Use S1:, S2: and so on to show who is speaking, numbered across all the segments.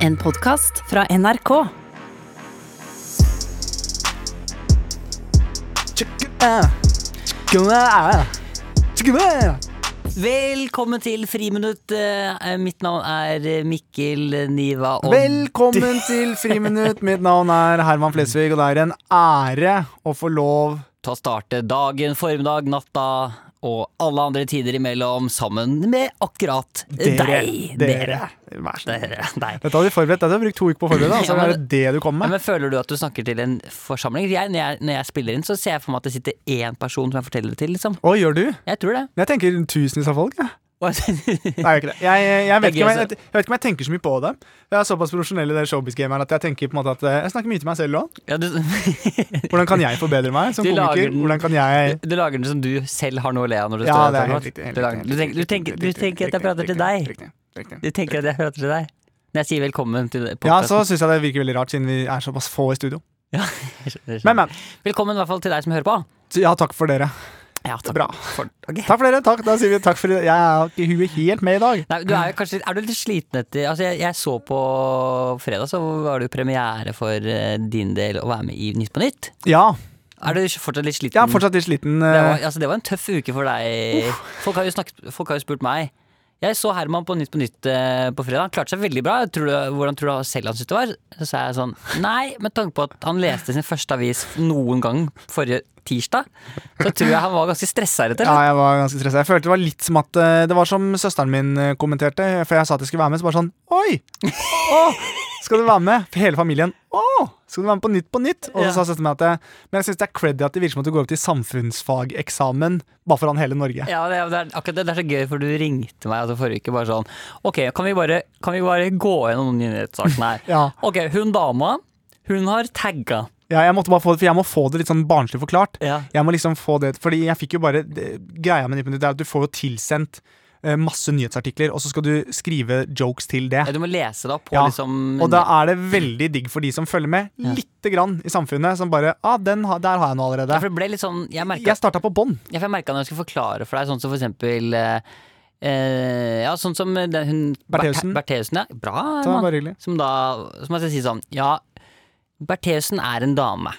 S1: En podkast fra NRK.
S2: Velkommen til Friminutt. Eh, Mitt navn er Mikkel Niva Odd.
S3: Velkommen til Friminutt. Mitt navn er Herman Flesvig, og det er en ære å få lov
S2: Ta starte dagen, formiddag, natta og alle andre tider imellom sammen med akkurat deg.
S3: Dere. Vær så snill.
S2: Dere. Deg.
S3: Dette har vi forberedt. Dette har vi brukt to uker på å forberede. Altså,
S2: Ja, men-
S3: er det det du kommer
S2: Ja,
S3: med?
S2: men Føler du at du snakker til en forsamling? Jeg, når, jeg, når jeg spiller inn, så ser jeg for meg at det sitter én person som jeg forteller det til. liksom
S3: Å, gjør du?
S2: Jeg tror det.
S3: Jeg tenker tusenvis av folk. Jeg.
S2: Og jeg-
S3: Nei, jeg, gjør ikke det. jeg, jeg, jeg, vet
S2: Det er
S3: ikke om
S2: gøy,
S3: jeg, jeg, vet ikke om jeg tenker så mye på det. Jeg er såpass profesjonell i det showbiz-gameren at jeg tenker på en måte at eh, jeg snakker mye til meg selv òg.
S2: ja, du,
S3: Hvordan kan jeg forbedre meg som
S2: Du lager
S3: komiker?
S2: den.
S3: Hvordan kan jeg
S2: du lager den som du selv har noe å le av når du
S3: Ja,
S2: står
S3: det er
S2: der. sånn,
S3: helt
S2: at-
S3: riktig. helt
S2: Du, lager-
S3: riktig,
S2: du, tenker,
S3: helt
S2: du,
S3: riktig,
S2: tenker, du
S3: riktig,
S2: tenker at
S3: riktig,
S2: jeg prater til
S3: riktig,
S2: deg.
S3: riktig, riktig,
S2: Du tenker at jeg prater til deg. Når jeg sier velkommen til
S3: Ja,
S2: podcasten.
S3: så syns jeg det virker veldig rart, siden vi er såpass få i studio. Men, men.
S2: Velkommen i hvert fall til deg som hører på.
S3: Ja, takk for dere.
S2: Ja, takk.
S3: Bra.
S2: For, ok.
S3: Takk for dere. takk, Da sier vi takk for Jeg har ikke huet helt med i dag.
S2: Nei, du er, jo kanskje, er du litt sliten etter altså jeg, jeg så på fredag, så var det jo premiere for eh, din del å være med i Nytt på nytt.
S3: Ja,
S2: Er du fortsatt litt sliten?
S3: jeg er fortsatt litt sliten.
S2: det,
S3: eh,
S2: var, altså, det var en tøff uke for deg. Folk, har jo snakket, folk har jo spurt meg. Jeg så Herman på Nytt på nytt eh, på fredag. Han klarte seg veldig bra. Tror du, hvordan tror du selv han syntes det var? Så sa jeg sånn Nei, med tanke på at han leste sin første avis noen gang forrige tirsdag, så tror jeg han var ganske stressa rett og
S3: Eh, Ja,
S2: slett.
S3: jeg var ganske stressa. Jeg følte det var litt som at eh, Det var som søsteren min eh, kommenterte, for jeg sa at jeg skulle være med, så bare sånn Oi! Å, skal du være med? For hele familien. Å! Skal du være med på Nytt på Nytt? Og
S2: Ja.
S3: så sa søsteren min at jeg, Men jeg syns det er credit at det virker som at du går opp til samfunnsfageksamen bare foran hele Norge.
S2: Ja, det er, det, er, akkurat det, det er så gøy, for du ringte meg altså, forrige uke bare sånn Ok, kan vi bare, kan vi bare gå gjennom nyhetssakene her?
S3: Ja.
S2: Ok, hun dama, hun har tagga.
S3: Ja, jeg måtte bare få det, for jeg må få det litt sånn barnslig forklart.
S2: Ja.
S3: Jeg må liksom få det Fordi jeg fikk jo bare det- Greia med Nytt på Nytt er at du får jo tilsendt eh, masse nyhetsartikler, og så skal du skrive jokes til det.
S2: Du må lese det opp på
S3: Ja,
S2: liksom
S3: Og da er det veldig digg for de som følger med, lite grann i samfunnet, som bare ah, den har, 'Der har jeg noe
S2: ja,
S3: allerede'.
S2: for det ble litt sånn, Jeg merka
S3: Jeg starta på bånn.
S2: jeg merket når jeg skulle forklare for deg, sånn som for eksempel eh, eh, Ja, sånn som den, hun
S3: Bertheussen.
S2: Berte- Bertheussen, ja. Bra,
S3: Det var
S2: mann.
S3: bare hyggelig.
S2: Som da Som man skal si sånn Ja, Bertheussen er en dame.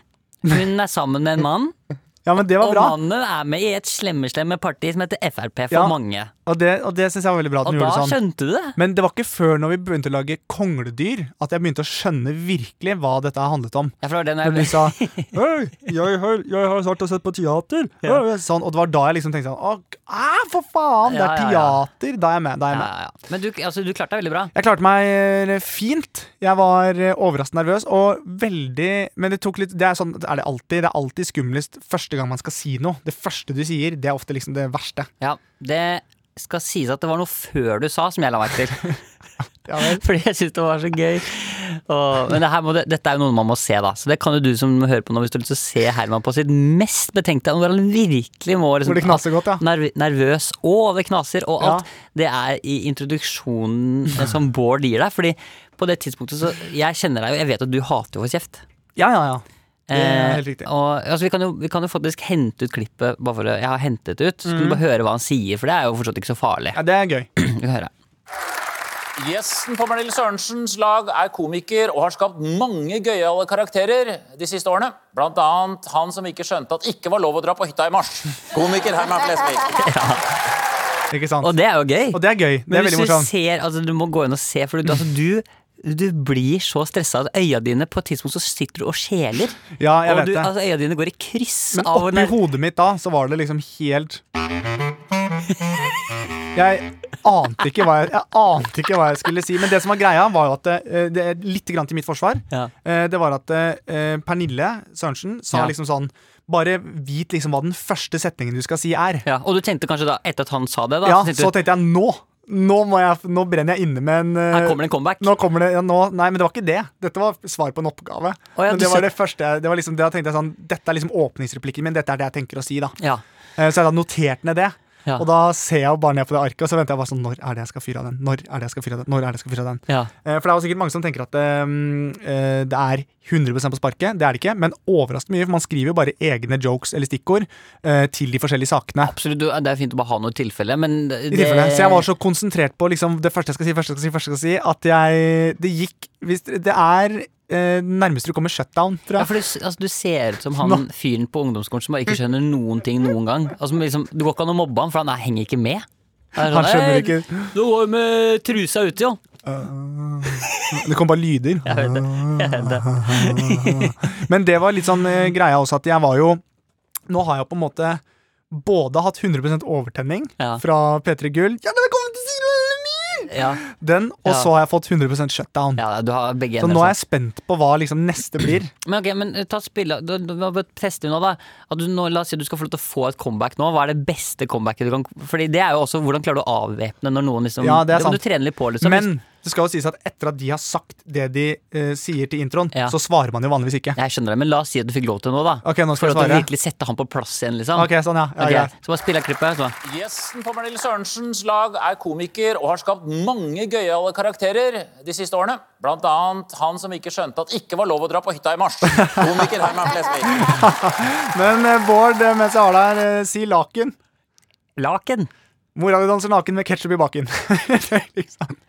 S2: Hun er sammen med en mann,
S3: Ja, men det var
S2: og
S3: bra.
S2: mannen er med i et slemme-slemme parti som heter Frp for
S3: Ja.
S2: mange.
S3: Og det, og det syns jeg var veldig bra at
S2: Og
S3: hun
S2: da
S3: gjorde sånn.
S2: skjønte du det.
S3: Men det var ikke før når vi begynte å lage kongledyr, at jeg begynte å skjønne virkelig hva dette handlet om.
S2: Ja, for det var det
S3: Når
S2: når
S3: du
S2: jeg,
S3: sa «Hei, jeg, har- 'Jeg har snart sett på teater'. «Hei», Sånn, og det var da jeg liksom tenkte sånn «Å, ah, For faen, det er
S2: Ja, ja, ja.
S3: teater! Da er jeg med. Da er jeg
S2: ja,
S3: med.
S2: ja. Men du, altså, du klarte deg veldig bra.
S3: Jeg klarte meg eh, fint. Jeg var eh, overraskende nervøs og veldig Men det tok litt Det er sånn er det alltid. Det er alltid skumlest første gang man skal si noe. Det første du sier, det er ofte liksom det verste.
S2: Ja, det skal sies at det var noe før du sa som jeg la merke til.
S3: Ja, vel.
S2: Fordi jeg syns det var så gøy. Og, men det her må, det, dette er jo noe man må se, da. Så det kan jo du som hører på nå, hvis du har lyst til å se Herman på sitt mest betenkte Hvor han virkelig må
S3: Hvor
S2: liksom,
S3: det knaser godt, ja.
S2: Nerv, nervøs, og det knaser, og
S3: Ja.
S2: alt. Det er i introduksjonen eh, som Bård gir deg. Fordi på det tidspunktet så Jeg kjenner deg jo, jeg vet at du hater å få kjeft.
S3: Ja, ja, ja. Det er
S2: Eh,
S3: helt riktig.
S2: Og, altså, vi, kan jo, vi kan jo faktisk hente ut klippet, bare for å, jeg har hentet det ut. Så kan du bare høre hva han sier, for det er jo fortsatt ikke så farlig.
S3: Mm. ja det er gøy.
S2: Vi kan høre.
S4: Gjesten på Pernille Sørensens lag er komiker og har skapt mange gøyale karakterer de siste årene. Blant annet han som ikke skjønte at ikke var lov å dra på hytta i mars. Komiker Herman Flesvig.
S3: Ikke sant?
S2: Og det er jo gøy.
S3: Og det er gøy. Det
S2: Men
S3: er
S2: hvis
S3: veldig
S2: du
S3: morsomt.
S2: ser, altså, du må gå inn og se, for du, altså, du, du blir så stressa at øya dine på et tidspunkt så sitter du og skjeler.
S3: Ja, jeg
S2: og
S3: vet
S2: du,
S3: det.
S2: altså, øya dine går i kryss
S3: Men
S2: av
S3: oppi hodet mitt da, så var det liksom helt Jeg ante ikke hva jeg, jeg, ante ikke hva jeg skulle si. Men det som var greia, var jo at eh, det er litt grann til mitt forsvar.
S2: Ja.
S3: Eh, Det var at eh, Pernille Sørensen sa
S2: Ja.
S3: liksom sånn Bare vit liksom hva den første setningen du skal si, er.
S2: ja, Og du tenkte kanskje da, etter at han sa det, da,
S3: Ja,
S2: så
S3: så
S2: tenkte du
S3: tenkte jeg nå! Nå, må jeg, nå brenner jeg inne med en eh,
S2: her kommer det en comeback.
S3: nå kommer det ja, nå, Nei, men det var ikke det. Dette var svar på en oppgave.
S2: Å ja,
S3: men
S2: du
S3: det
S2: sa-
S3: var det første jeg- det var liksom, Da tenkte jeg sånn Dette er liksom åpningsreplikken min. Dette er det jeg tenker å si, da.
S2: Ja.
S3: Eh, Så jeg hadde notert ned det.
S2: Ja.
S3: Og da ser jeg jo bare ned på det arket, og så venter jeg bare sånn Når er det jeg skal fyre av den? Når er det jeg skal fyre av den? Når er det jeg skal fyre av den?
S2: Ja.
S3: Eh, For det er jo sikkert mange som tenker at eh, eh, det er 100 på sparket. Det er det ikke, men overraskende mye. For man skriver jo bare egne jokes eller stikkord eh, til de forskjellige sakene.
S2: Absolutt, du- det er fint å bare ha noe tilfelle, men det,
S3: I tilfelle. Så jeg var så konsentrert på liksom, det første jeg skal si, første jeg skal si, første jeg skal si at jeg, det gikk Hvis dere- det er eh, nærmest du kommer shutdown, tror
S2: Ja,
S3: jeg.
S2: for du, s- altså, du ser ut som han fyren på ungdomsskolen som bare ikke skjønner noen ting noen gang. Altså, men liksom, du går ikke an å mobbe han, for han er, henger ikke med. Han,
S3: Han skjønner ikke.
S2: Du går jo med trusa ute, jo.
S3: Det kom bare lyder.
S2: Jeg vet det. Jeg vet det.
S3: Men det var litt sånn eh, greia også at jeg var jo Nå har jeg på en måte både hatt 100 overtenning
S2: Ja.
S3: fra P3 Gull Ja, det kommer til Silvani!
S2: Ja,
S3: Den, og
S2: Ja.
S3: så har jeg fått 100 shutdown.
S2: ja, du har begge
S3: Så
S2: ender,
S3: nå er
S2: sant?
S3: jeg spent på hva liksom neste blir.
S2: Men ok, men eh, ta spille, du, du, du, bare teste nå da At du nå, La oss si du skal få lov til å få et comeback nå. Hva er det beste comebacket du kan Fordi det er jo også hvordan klarer du å avvæpne når noen liksom
S3: Ja, det er
S2: må
S3: sant.
S2: Du trener litt på, liksom.
S3: Men det skal jo sies at etter at de har sagt det de eh, sier til introen,
S2: Ja.
S3: så svarer man jo vanligvis ikke.
S2: Jeg skjønner det, men la oss si at du fikk lov til noe, da.
S3: Ok, nå skal
S2: For
S3: jeg
S2: at du
S3: svare.
S2: virkelig sette han på plass igjen, liksom.
S3: Ok, sånn ja, ja,
S2: Ok,
S3: greit.
S2: Så bare spille av klippet. Så. bare,
S4: Gjesten på Pernille Sørensens lag er komiker og har skapt mange gøyale karakterer de siste årene. Blant annet han som ikke skjønte at ikke var lov å dra på hytta i mars. Komiker Herman Flesvig.
S3: Men eh, Bård, eh, mens jeg har deg her, eh, si laken.
S2: Laken.
S3: Mora di danser naken med ketsjup i baken. Det er liksom.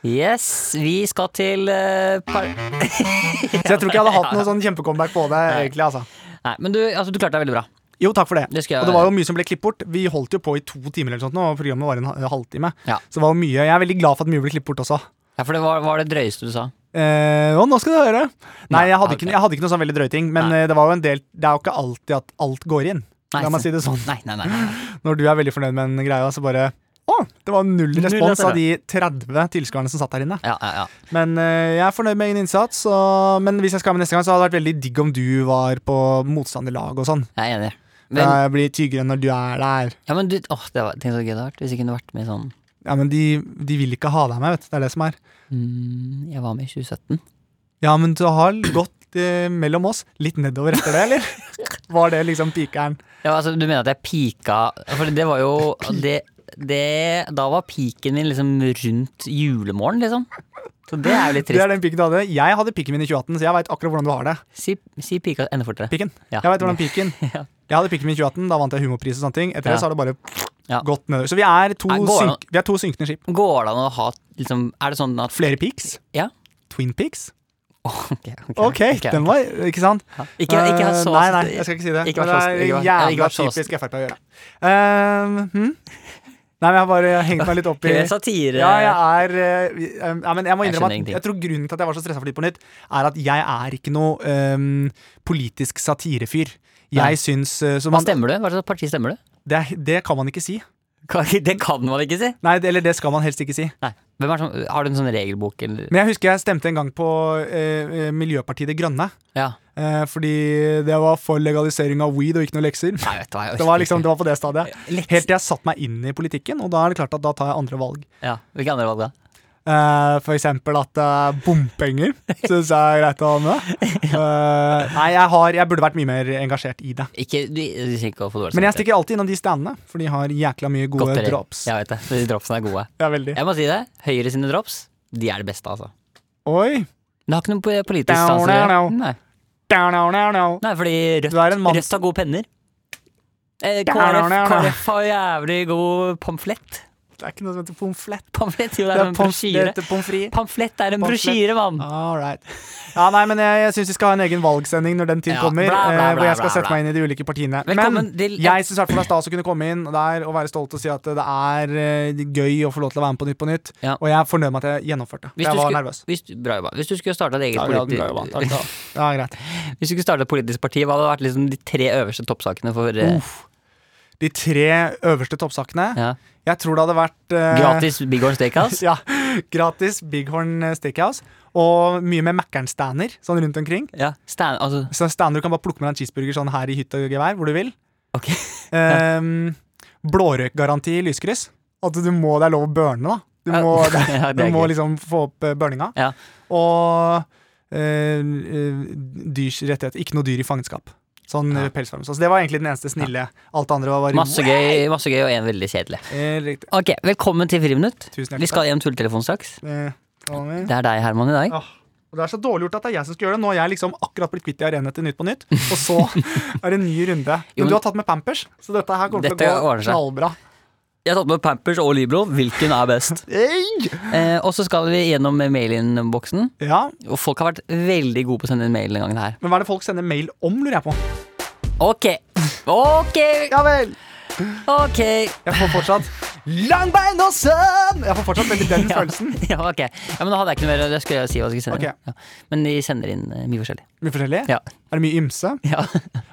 S2: Yes, vi skal til eh, par...
S3: Så jeg tror ikke jeg hadde hatt noe sånn kjempecomeback på det, egentlig. altså
S2: Nei, men du, altså, du klarte deg veldig bra.
S3: Jo, takk for det.
S2: Det skal jeg
S3: og det
S2: være.
S3: var jo mye som ble klippet bort. Vi holdt jo på i to timer, eller sånt nå, og programmet var en ha- halvtime.
S2: Ja.
S3: Så det var jo mye. Jeg er veldig glad for at mye ble klippet bort også.
S2: Ja, For det var, var det drøyeste du sa.
S3: Eh, å, nå skal du høre! Nei,
S2: Nei,
S3: jeg hadde,
S2: ok.
S3: ikke, jeg hadde ikke noe sånn veldig drøy ting, men
S2: Nei.
S3: eh, det var jo en del Det er jo ikke alltid at alt går inn.
S2: Nei,
S3: La meg si det sånn.
S2: Nei, nei, nei, nei.
S3: Når du er veldig fornøyd med en greie, så bare Å! Det var null respons
S2: altså.
S3: av de 30 tilskuerne som satt her inne.
S2: Ja, ja, ja.
S3: Men eh, jeg er fornøyd med egen innsats, og, men hvis jeg skal med neste gang, så hadde det vært veldig digg om du var på motstanderlag og sånn.
S2: Jeg er enig.
S3: Men,
S2: Men,
S3: jeg blir tyggere når du er der.
S2: ja, men du, åh, det var, tenk så gøy det hadde vært hvis jeg kunne vært med i sånn
S3: Ja, men de, de vil ikke ha deg med, vet du. Det er det som er.
S2: mm, Jeg var med i 2017.
S3: Ja, men du har gått eh, mellom oss litt nedover etter det, eller? Var det liksom pikeren?
S2: Ja, altså, du mener at jeg pika For det var jo det, det, Da var piken min liksom rundt julemorgen, liksom. Så det er jo litt
S3: Det
S2: trist.
S3: er den piken du hadde. Jeg hadde piken min i 2018, så jeg veit akkurat hvordan du har det.
S2: Si, si pika enda fortere.
S3: Piken.
S2: Ja.
S3: Jeg vet hvordan piken.
S2: Ja.
S3: Jeg hadde piken min i 2018, da vant jeg humorpris og sånne ting. Etter
S2: Ja.
S3: det så har det bare
S2: Ja.
S3: gått nedover. Så vi er to,
S2: Nei, går det an-
S3: synk, vi er to synkende skip.
S2: Går det an å ha liksom Er det sånn at
S3: Flere peaks.
S2: Ja?
S3: Twin peaks.
S2: Ok, ok,
S3: Ok,
S2: ok.
S3: den var Ikke sant?
S2: Ikke, ikke ha
S3: Eh,
S2: så
S3: Nei, nei, jeg skal ikke si det.
S2: Ikke
S3: men
S2: vær så-
S3: det er
S2: ikke vær- ja, ikke
S3: jævla
S2: vær så-
S3: typisk Frp å gjøre. Eh, hm? Nei, men jeg har bare hengt meg litt opp i
S2: Helt satire.
S3: Ja, jeg er eh, vi- eh, ja, men jeg må
S2: Jeg skjønner
S3: innrømme at
S2: ingenting.
S3: jeg tror grunnen til at jeg var så stressa for Litt på nytt, er at jeg er ikke noe eh, politisk satirefyr.
S2: Nei.
S3: Jeg syns eh, så
S2: Hva
S3: man,
S2: stemmer du? Hva slags parti stemmer du?
S3: det, er- det kan man ikke si.
S2: Kan ikke- Det kan man ikke si.
S3: Nei, det, eller det skal man helst ikke si.
S2: Nei. Hvem er som, har du en sånn regelbok, eller?
S3: Men jeg husker jeg stemte en gang på eh, eh, Miljøpartiet De Grønne.
S2: Ja.
S3: eh, fordi det var for legalisering av weed og ikke noe lekser.
S2: Nei, vet du hva, jeg
S3: Det
S2: orker
S3: var liksom, det
S2: ikke.
S3: var på det stadiet.
S2: Leks-
S3: Helt til jeg satte meg inn i politikken, og da er det klart at da tar jeg andre valg.
S2: Ja. Hvilke andre valg da?
S3: Eh, for eksempel at eh, bompenger syns jeg er greit å ha med. Eh, nei, jeg, har, jeg burde vært mye mer engasjert i det.
S2: Ikke, du, du trenger ikke å få dårlig
S3: Men jeg
S2: samvittighet.
S3: stikker alltid innom de standene, for de har jækla mye gode
S2: Godteri.
S3: drops.
S2: Jeg vet det. De dropsene er gode.
S3: Ja, veldig.
S2: Jeg må si det. Høyre sine drops, de er det beste, altså.
S3: Oi!
S2: Det har ikke noe po- politisk
S3: Down,
S2: sans å
S3: down,
S2: gjøre.
S3: down.
S2: Nei.
S3: Down, down, down, down.
S2: Nei, fordi Rødt,
S3: Du er en mann-
S2: Rødt har gode penner. Eh,
S3: Down, down,
S2: KrF,
S3: down.
S2: KrF har jævlig god pamflett.
S3: Det er ikke noe som heter pommes frites.
S2: Pamflett, jo, det
S3: Det
S2: er
S3: er
S2: en
S3: pommes- det
S2: brosjyre.
S3: heter pommes frites.
S2: Pamflett er en
S3: Pamflett.
S2: brosjyre, mann.
S3: All right. Ja, nei, men jeg, jeg syns vi skal ha en egen valgsending når den tid
S2: Ja,
S3: kommer.
S2: bla, bla,
S3: eh,
S2: bla,
S3: hvor jeg skal
S2: bla,
S3: sette
S2: bla.
S3: meg inn i de ulike partiene.
S2: Velkommen
S3: men
S2: til-
S3: jeg syns i hvert fall det er stas å kunne komme inn der og være stolt og si at det er eh, gøy å få lov til å være med på Nytt på nytt.
S2: Ja.
S3: Og jeg er fornøyd med at jeg gjennomførte.
S2: Hvis
S3: jeg
S2: du
S3: var
S2: skulle-
S3: nervøs.
S2: Hvis, du- bra jobba. Hvis du skulle starta et eget
S3: Ja, bra,
S2: politi-
S3: bra jobba. Takk, takk. Ja, greit.
S2: Hvis du skulle starte et politisk parti, hva hadde vært liksom de tre øverste toppsakene for eh,
S3: De tre øverste toppsakene.
S2: ja.
S3: Jeg tror det hadde vært eh,
S2: Gratis Big Horn Steakhouse?
S3: Ja, gratis Bighorn Steakhouse. Og mye med Mækkern-stander sånn rundt omkring.
S2: Ja. Stand, altså,
S3: Så stander du kan bare plukke med deg en cheeseburger sånn her i hytt og gevær, hvor du vil.
S2: ok.
S3: Ehm, blårøykgaranti i lyskryss. At du må, det er lov å burne, da. Du
S2: Ja.
S3: må, det,
S2: Ja, det
S3: du
S2: er
S3: må
S2: gøy.
S3: liksom få opp eh, burninga.
S2: Ja.
S3: Og eh, dyrs rettigheter. Ikke noe dyr i fangenskap. Sånn ja. pelsfarm. Så det var egentlig den eneste snille. Alt det andre var bare
S2: Masse gøy, masse gøy og en veldig kjedelig.
S3: Eh, riktig.
S2: Ok, Velkommen til Friminutt.
S3: Tusen hjertelig
S2: Vi skal gjennom tulletelefonen straks.
S3: Eh, kom igjen.
S2: Det er deg, Herman, i dag.
S3: Åh, Ah. og det er så dårlig gjort at det er jeg som skal gjøre det. Nå har jeg liksom akkurat blitt kvitt i arenaen etter Nytt på nytt, og så er det en ny runde.
S2: Jo,
S3: Men
S2: men-
S3: du har tatt med Pampers, så dette her kommer
S2: Dette
S3: til å gå
S2: ordner seg.
S3: knallbra.
S2: Jeg har tatt med Pampers og Libro. Hvilken er best? Eh, og så skal vi gjennom mail-in-boksen.
S3: Ja,
S2: Og folk har vært veldig gode på å sende inn mail denne gangen her.
S3: Men hva er det folk sender mail om, lurer jeg på.
S2: Ok. Ok.
S3: Ja vel!
S2: Ok.
S3: Jeg får fortsatt Langbein og sønn! Jeg får fortsatt veldig den følelsen.
S2: Ja, ok. Ja, men da hadde jeg ikke noe mer. Det skulle jeg si hva jeg skulle sende
S3: Ok.
S2: inn. Ja. Men de sender inn eh, mye forskjellig.
S3: Mye forskjellig.
S2: Ja.
S3: Er det mye ymse?
S2: ja.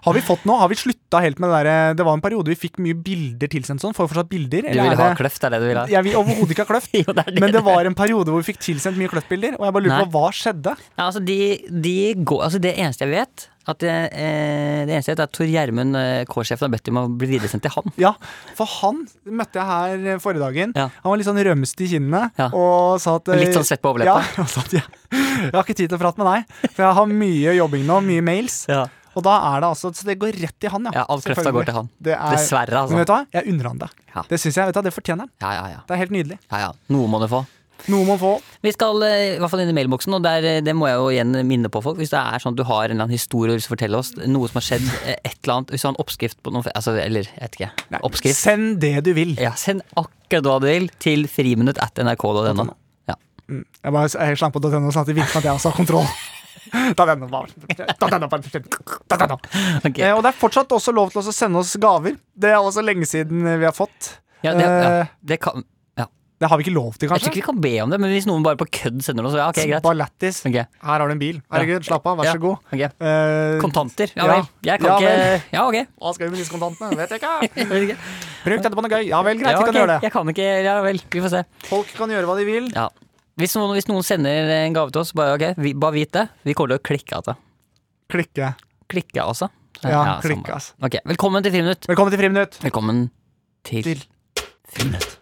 S3: Har vi fått noe? Har vi slutta helt med det derre Det var en periode vi fikk mye bilder tilsendt sånn. Får vi fortsatt bilder?
S2: Du vil ha
S3: kløft?
S2: kløft, er det du vil ha?
S3: Jeg vil overhodet ikke ha kløft.
S2: Jo, det er det.
S3: Men det var en periode hvor vi fikk tilsendt mye kløftbilder, og jeg bare lurer på
S2: Nei.
S3: hva skjedde.
S2: Ja, altså, de, de går, altså Det eneste jeg vet, at det, eh, det eneste jeg vet er at Tor Gjermund, eh, K-sjefen, har bedt om å bli videresendt til han.
S3: Ja, for han møtte jeg her eh, forrige dagen.
S2: Ja.
S3: Han var litt sånn rømst i kinnene
S2: Ja.
S3: og sa at eh,
S2: Litt sånn svett på overleppa.
S3: Ja, og sa at jeg, jeg har ikke tid til å prate med deg, for jeg har mye jobbing nå, mye mails.
S2: Ja.
S3: Og da er det altså Så det går rett til han, ja.
S2: Ja, all krefta
S3: Selvfølgelig.
S2: går til han.
S3: Det er,
S2: Dessverre, altså.
S3: Men vet du hva, jeg unner han det.
S2: Ja.
S3: Det syns jeg. vet du, hva, Det fortjener han.
S2: Ja, ja, ja.
S3: Det er helt nydelig.
S2: ja, ja. Noe må du få.
S3: Noe må få.
S2: Vi skal eh, i hvert fall inn i mailboksen, og der, eh, det må jeg jo igjen minne på folk. Hvis det er sånn at du har en eller annen historie du vil fortelle oss, noe som har skjedd, eh, et eller annet, hvis du har en oppskrift på noe altså, Eller jeg vet ikke.
S3: Nei,
S2: Oppskrift.
S3: Send det du vil.
S2: Ja, send akkurat hva du vil til friminutt at nrk.no. Ja.
S3: Jeg bare jeg slang på .no, sånn at det virker som at jeg også har kontroll. Ta den nå, bare. Ta den nå, bare. Ta den nå.
S2: Ok.
S3: Eh, og det er fortsatt også lov til å sende oss gaver. Det er også lenge siden vi har fått.
S2: Ja, det, ja,
S3: Eh,
S2: det kan, ja.
S3: det har vi ikke lov til,
S2: Jeg tror
S3: kanskje.
S2: ikke vi kan be om det, men hvis noen bare på kødd sender noe, så ja, ok, greit.
S3: Bare lættis.
S2: Ok.
S3: Her har du en bil. Herregud, slapp av. Vær
S2: Ja,
S3: så god.
S2: ok.
S3: Eh,
S2: Kontanter? Ja
S3: Ja.
S2: vel. Jeg kan
S3: Ja vel.
S2: ikke Ja, ok.
S3: hva skal vi med disse kontantene? Vet jeg ikke.
S2: Jeg vet ikke.
S3: Bruk dette på noe gøy. Ja vel, greit.
S2: Ja,
S3: Vi
S2: ok.
S3: kan gjøre det.
S2: Jeg kan ikke Ja vel. Vi får se.
S3: Folk kan gjøre hva de vil.
S2: Ja. Hvis noen, hvis noen sender en gave til oss, bare ok, vi, bare vit det. Vi kommer til å klikke av det.
S3: Klikke.
S2: Klikke, altså? Så-
S3: Ja,
S2: samme.
S3: klikke, ass.
S2: Ok, Velkommen til Friminutt.
S3: Velkommen til Friminutt.
S2: Velkommen til,
S3: Til.
S2: Friminutt.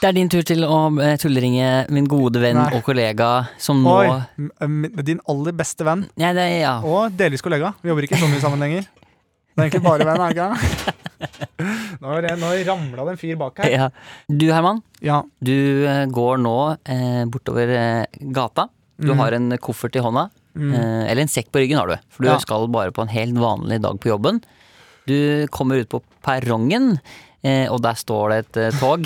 S2: Det er din tur til å eh, tulleringe min gode venn
S3: Nei.
S2: og kollega som nå
S3: Oi, m- m- din aller beste venn
S2: Nei, det er, ja.
S3: og delvis kollega. Vi jobber ikke så mye sammen lenger. Det er egentlig bare venn, er det ikke? Nå, er det- nå ramla det en fyr bak her.
S2: ja. Du, Herman,
S3: Ja,
S2: du eh, går nå eh, bortover eh, gata. Du
S3: Mm.
S2: har en koffert i hånda. Eh, eller en sekk på ryggen har du, for du
S3: Ja.
S2: skal bare på en helt vanlig dag på jobben. Du kommer ut på perrongen, eh, og der står det et eh, tog.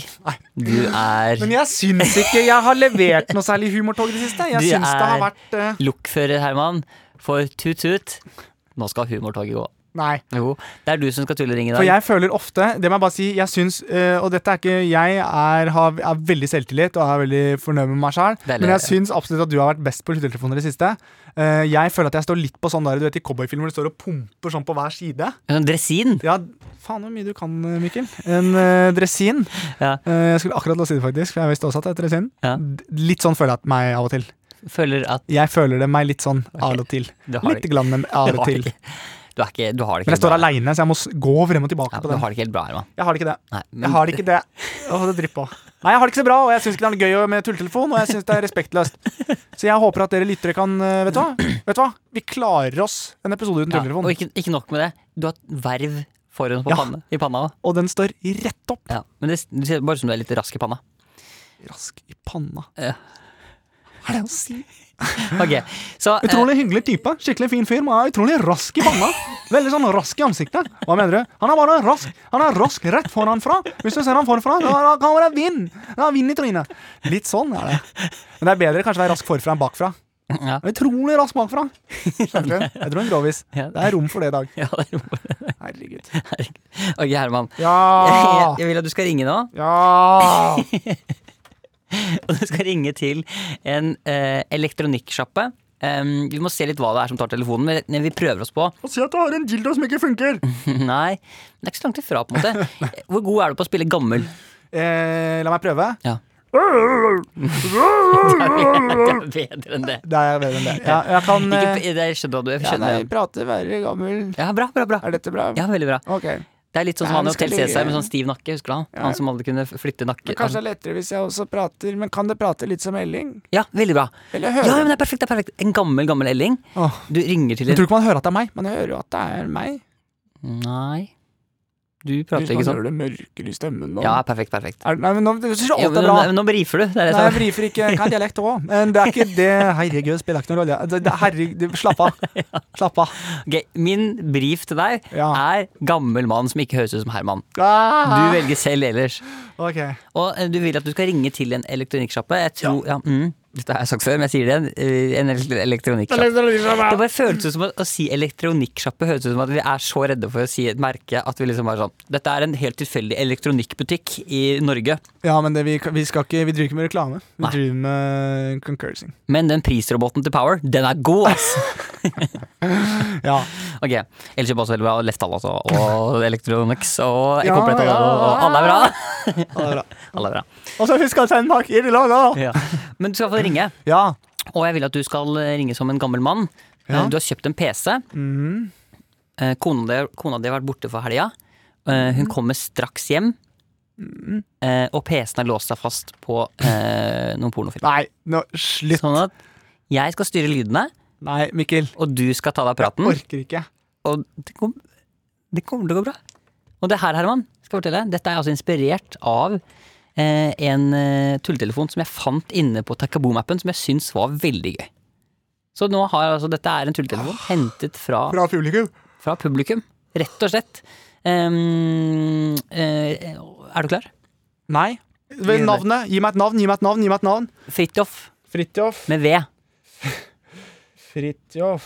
S2: Du er
S3: Men jeg syns ikke jeg har levert noe særlig humortog i det siste. Jeg
S2: Du
S3: syns det har
S2: er-
S3: vært eh,
S2: lokfører, Herman, for tut-tut. Nå skal humortoget gå.
S3: Nei.
S2: Jo, det er du som skal tulleringe i
S3: For
S2: dag.
S3: jeg føler ofte Det må jeg bare si. Jeg syns eh, Og dette er ikke Jeg er, har, er veldig selvtillit og er veldig fornøyd med meg sjæl.
S2: Veldig.
S3: Men jeg syns absolutt at du har vært best på lyttertelefoner i det siste. Eh, jeg føler at jeg står litt på sånn der Du vet i cowboyfilmer hvor du står og pumper sånn på hver side.
S2: Sånn Dresin.
S3: Ja, faen hvor mye du kan, Mikkel. En eh, dresin.
S2: Ja.
S3: Eh, jeg skulle akkurat til å si det, faktisk, for jeg visste også at det er dresin.
S2: Ja.
S3: D- Litt sånn føler jeg at meg av og til.
S2: Føler at
S3: Jeg føler det meg litt sånn av og til.
S2: du har
S3: Litt
S2: det-
S3: glann av
S2: du
S3: og
S2: har det
S3: til.
S2: ikke. Du, er ikke, du har det ikke
S3: Men jeg
S2: bra.
S3: står aleine, så jeg må s- gå frem og tilbake
S2: Ja,
S3: på
S2: du
S3: den.
S2: har det ikke helt bra, Herman.
S3: Jeg har det ikke det.
S2: Nei,
S3: Jeg har ikke det. Åh, det drypper. Nei, jeg har det ikke så bra, og jeg syns ikke det er noe gøy å- med tulletelefon, og jeg syns det er respektløst. Så jeg håper at dere lyttere kan eh, Vet du hva? Vet du hva? Vi klarer oss en episode uten
S2: Ja, og
S3: tulletelefon.
S2: ikke, ikke nok med det. Du har et verv foran på
S3: Ja.
S2: panne, i panna. også.
S3: Og den står rett opp.
S2: Ja. Men det, det ser bare ut som du er litt rask i panna.
S3: Rask i panna.
S2: Ja.
S3: Hva er det å si?
S2: Ok, så eh,
S3: Utrolig hyggelig type. Skikkelig fin fyr. Men er utrolig rask i panna. Veldig sånn rask i ansiktet. Hva mener du? Han er bare rask Han er rask rett foranfra. Hvis du ser han forfra, da da kommer det vind. Da er vind i trynet. Litt sånn er det. Men det er bedre kanskje å være rask forfra enn bakfra.
S2: Ja.
S3: Utrolig rask bakfra. Skjønner du? Jeg tror en grovis.
S2: Ja.
S3: Det er rom for det i dag.
S2: ja, det er rom.
S3: Herregud.
S2: Ok, Herman.
S3: Ja!
S2: Jeg, jeg vil at du skal ringe nå.
S3: Ja!
S2: Og du skal ringe til en eh, elektronikksjappe. Em, vi må se litt hva det er som tar telefonen, men- men vi prøver oss på.
S3: Og si at du har en dildo som ikke funker.
S2: Nei, men det er ikke så langt ifra, på en måte. Hvor god er du på å spille gammel?
S3: Eh, la meg prøve.
S2: Ja. Det er bedre enn det.
S3: Det er jeg bedre enn det. Ja, jeg kan
S2: Ikke,
S3: eh,
S2: det jeg skjønner du. Jeg
S3: ja, nei,
S2: skjønner.
S3: prate, være gammel.
S2: Ja, bra, bra, bra.
S3: Er dette bra?
S2: Ja, veldig bra.
S3: Ok.
S2: Det er litt sånn
S3: Ja,
S2: som han i
S3: det skal
S2: Hotel Cæsar
S3: ligge-
S2: med sånn stiv nakke, husker du han? Han som aldri kunne f- flytte nakke.
S3: Men kanskje det er lettere hvis jeg også prater, men kan det prate litt som Elling?
S2: Ja, veldig bra.
S3: Eller
S2: Ja,
S3: hører
S2: men det er perfekt, det er perfekt. En gammel, gammel elling.
S3: Åh.
S2: Du ringer til
S3: Jeg
S2: en
S3: tror ikke man hører at det er meg. Man hører jo at det er meg.
S2: Nei. Du prater ikke sånn.
S3: det mørkere i stemmen. da.
S2: Ja, perfekt, perfekt.
S3: Er, nei, men nå, det, så,
S2: Jo,
S3: alt
S2: men
S3: er bra.
S2: nå, nå brifer du. Det er det
S3: Nei, jeg
S2: som-
S3: brifer ikke. Hva er dialekt òg? Men det er ikke det Herregud, det spiller ikke noen rolle. Altså, Det, det, herregud, slapp av. Slapp av.
S2: Ok, Min brif til deg
S3: Ja.
S2: er gammel mann som ikke høres ut som Herman.
S3: Ah,
S2: Du velger selv ellers.
S3: ok.
S2: Og eh, du vil at du skal ringe til en elektronikksjappe. Jeg tror ja. mm, Dette har jeg sagt før, men jeg sier det igjen. eh, En elek- elektronikksjappe.
S3: liksom,
S2: Det bare føles ut som at, Å si elektronikksjappe høres ut som at vi er så redde for å si et merke at vi liksom bare sånn Dette er en helt tilfeldig elektronikkbutikk i Norge,
S3: Ja, men det, vi, vi skal ikke Vi driver ikke med reklame. Vi
S2: Nei.
S3: driver med concursing.
S2: men den prisroboten til Power, den er god, ass!
S3: Ja.
S2: Ok, Ellers kjøper også veldig bra Lefthall altså, og Electronics og
S3: Ja,
S2: Komplett.
S3: ja.
S2: Og, og alle er bra!
S3: Ja, det er bra.
S2: Alle er bra.
S3: Og så husk å sende pakker i lag, da!
S2: Men du skal få ringe.
S3: Ja.
S2: Og jeg vil at du skal eh, ringe som en gammel mann.
S3: Ja.
S2: Eh, Du har kjøpt en PC. Eh, Kona, di, kona di har vært borte for helga. Eh, Hun kommer straks hjem. Eh, Og PC-en har låst seg fast på eh, noen pornofilmer.
S3: Nei, nå, slutt.
S2: Sånn at jeg skal styre lydene,
S3: Nei, Mikkel.
S2: og du skal ta deg av praten.
S3: Orker ikke.
S2: Og det kom- det kommer til å gå bra. Og det her, Herman, skal jeg fortelle, dette er altså inspirert av eh, en eh, tulletelefon som jeg fant inne på Takaboom-appen, som jeg syns var veldig gøy. Så nå har altså, dette er en tulletelefon hentet fra,
S3: Bra publikum.
S2: fra publikum, rett og slett. Ehm, eh, er du klar?
S3: Nei.
S2: Gi meg-
S3: Navnet. Gi meg et navn, gi meg et navn, gi meg et navn.
S2: Fridtjof
S3: Fridtjof.
S2: med V.
S3: Fridtjof.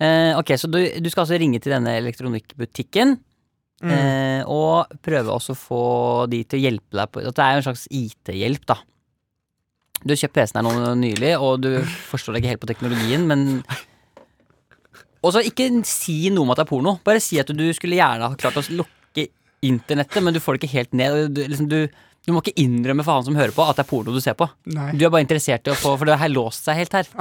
S2: Eh, ok, så du, du skal altså ringe til denne elektronikkbutikken eh, og prøve også å få de til å hjelpe deg på at Det er jo en slags IT-hjelp, da. Du har kjøpt PC-en her nå nylig, og du forstår deg ikke helt på teknologien, men Og så ikke si noe om at det er porno. Bare si at du skulle gjerne ha klart å lukke internettet, men du får det ikke helt ned. og Du, liksom, du, du må ikke innrømme for han som hører på, at det er porno du ser på.
S3: Nei.
S2: Du er bare interessert i å få For det har låst seg helt her.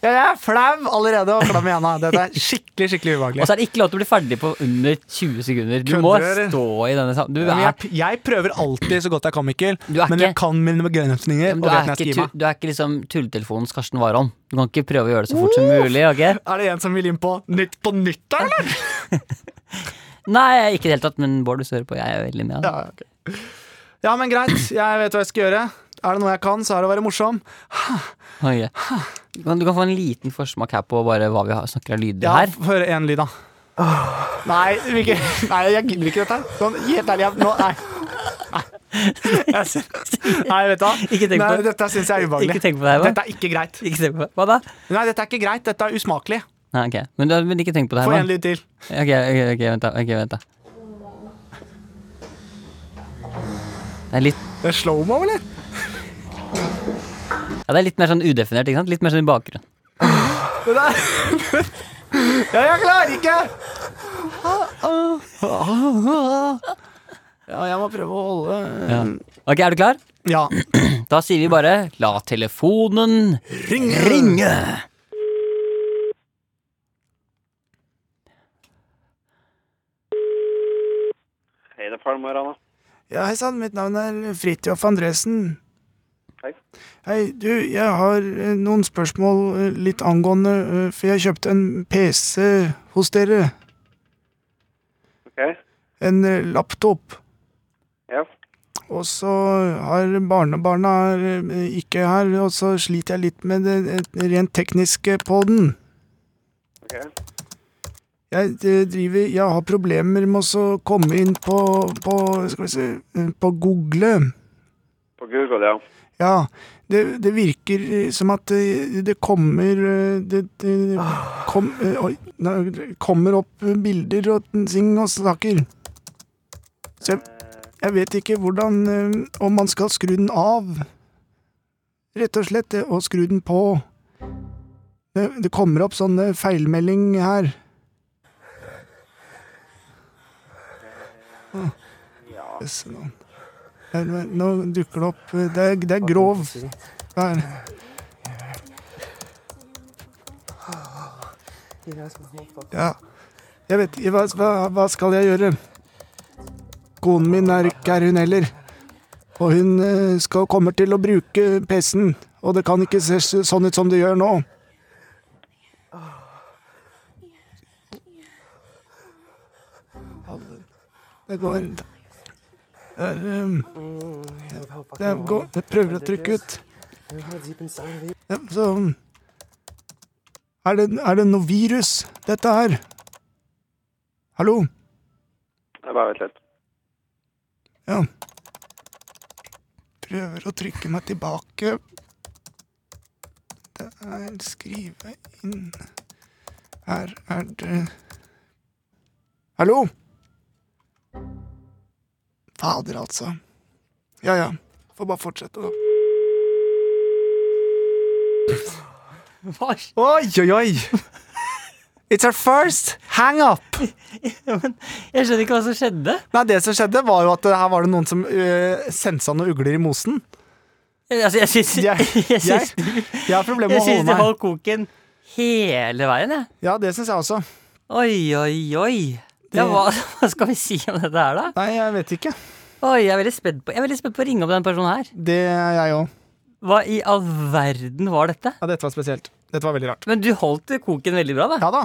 S3: Ja, jeg er flau allerede og klam i henda. Dette er skikkelig skikkelig
S2: Og
S3: ubehagelig.
S2: så er det ikke lov til å bli ferdig på under 20 sekunder. Du må
S3: Kødder du?
S2: stå i denne sam... Du
S3: Men
S2: er,
S3: jeg, jeg prøver alltid så godt jeg kan, Mikkel.
S2: Du er
S3: Men jeg
S2: ikke-
S3: kan mine begrensninger. og
S2: du
S3: vet når
S2: er,
S3: jeg
S2: ikke,
S3: skal gi
S2: tu-
S3: meg.
S2: du er ikke liksom tulletelefonens Karsten Warholm. Du kan ikke prøve å gjøre det så fort som mulig. ok?
S3: Er det en som vil inn på Nytt på nytt, da, eller?
S2: Nei, ikke i det hele tatt, men Bård, hvis du hører på, jeg er veldig med.
S3: Ja, ok. ja, men greit. Jeg vet hva jeg skal gjøre. Er det noe jeg kan, så er det å være morsom.
S2: Ok. Du kan, du kan få en liten forsmak her på bare hva vi har, snakker av lyder
S3: Ja,
S2: her.
S3: f- Hør én lyd, da. Nei, Mikkel. Nei, jeg gidder ikke dette. her. Sånn, helt ærlig, jeg, nå, nei. Nei. Jeg sy- Nei, vet du hva.
S2: Ikke tenk på
S3: Nei,
S2: det.
S3: dette syns jeg er ubehagelig.
S2: Ikke tenk på det her, hva?
S3: Dette er ikke greit.
S2: Ikke tenk på det. Hva da?
S3: Nei, dette er ikke greit. Dette er usmakelig.
S2: Nei, ok. Men, da- men ikke tenk på det
S3: Få
S2: her.
S3: en
S2: mann.
S3: lyd til.
S2: Ok, ok, ok, vent da. ok, vent da. Det er litt,
S3: Det er slow-mo, eller?
S2: ja, det er litt mer sånn udefinert, ikke sant? Litt mer sånn i bakgrunnen.
S3: Det der Ja, jeg klarer ikke! Ja, jeg må prøve å holde
S2: Ja. Ok, er du klar?
S3: Ja.
S2: Da sier vi bare la telefonen
S3: Ringe!
S2: ringe.
S5: Hei, det er Palmer, Anna.
S3: Ja, hei sann, mitt navn er Fridtjof Andresen.
S5: Hei.
S3: Hei, du, jeg har eh, noen spørsmål eh, litt angående eh, For jeg kjøpte en PC hos dere.
S5: Ok,
S3: En eh, laptop.
S5: ja.
S3: Og så har barnebarna eh, ikke her, og så sliter jeg litt med det eh, rent tekniske på den.
S5: Ok,
S3: Jeg eh, driver Jeg har problemer med å så komme inn på, på Skal vi se eh, På Google.
S5: på Google, ja.
S3: Ja. Det, det virker eh, som at eh, det kommer eh, Det, det kom, eh, oi, nei, det kommer opp bilder og ting og saker. Så jeg, jeg vet ikke hvordan eh, Om man skal skru den av. Rett og slett. eh, Og skru den på. Det, det kommer opp sånne feilmelding her. Jøss, navn. Her, men Nå dukker det opp eh, Det er, det er grov. Der. Ja. Jeg vet ikke hva, hva- hva skal jeg gjøre? Konen min er ikke her, hun heller. Og hun eh, skal, kommer til å bruke PC-en. Og det kan ikke se s- sånn ut som det gjør nå. Det går ikke. Det er, um, Det går Jeg prøver å trykke ut. Ja, Så er det, er det noe virus, dette her? Hallo?
S5: Jeg bare vent litt.
S3: Ja. Prøver å trykke meg tilbake. Det er skrive inn Her er det Hallo? Fader, altså. Ja ja. Får bare fortsette, da.
S2: Hva?
S3: Oi, oi, oi! It's our first hang-up!
S2: Jeg skjønner ikke hva som skjedde.
S3: Nei, det som skjedde, var jo at eh, her var det noen som uh, sensa noen ugler i mosen.
S2: Jeg- Altså, jeg syns
S3: Jeg, jeg,
S2: jeg,
S3: jeg,
S2: syns-
S3: har problemer med
S2: jeg
S3: å
S2: syns
S3: holde
S2: det
S3: meg.
S2: holdt koken hele veien, jeg.
S3: Ja, det syns jeg også.
S2: Oi, oi, oi. Ja,
S3: Det-
S2: hva, hva skal vi si om dette her, da?
S3: Nei, jeg vet ikke.
S2: Oi, Jeg er veldig spent på, jeg er veldig spent på å ringe opp den personen her.
S3: Det er jeg òg.
S2: Hva i all verden var dette?
S3: Ja, dette var spesielt. Dette var veldig rart.
S2: Men du holdt koken veldig bra, da.
S3: Ja da.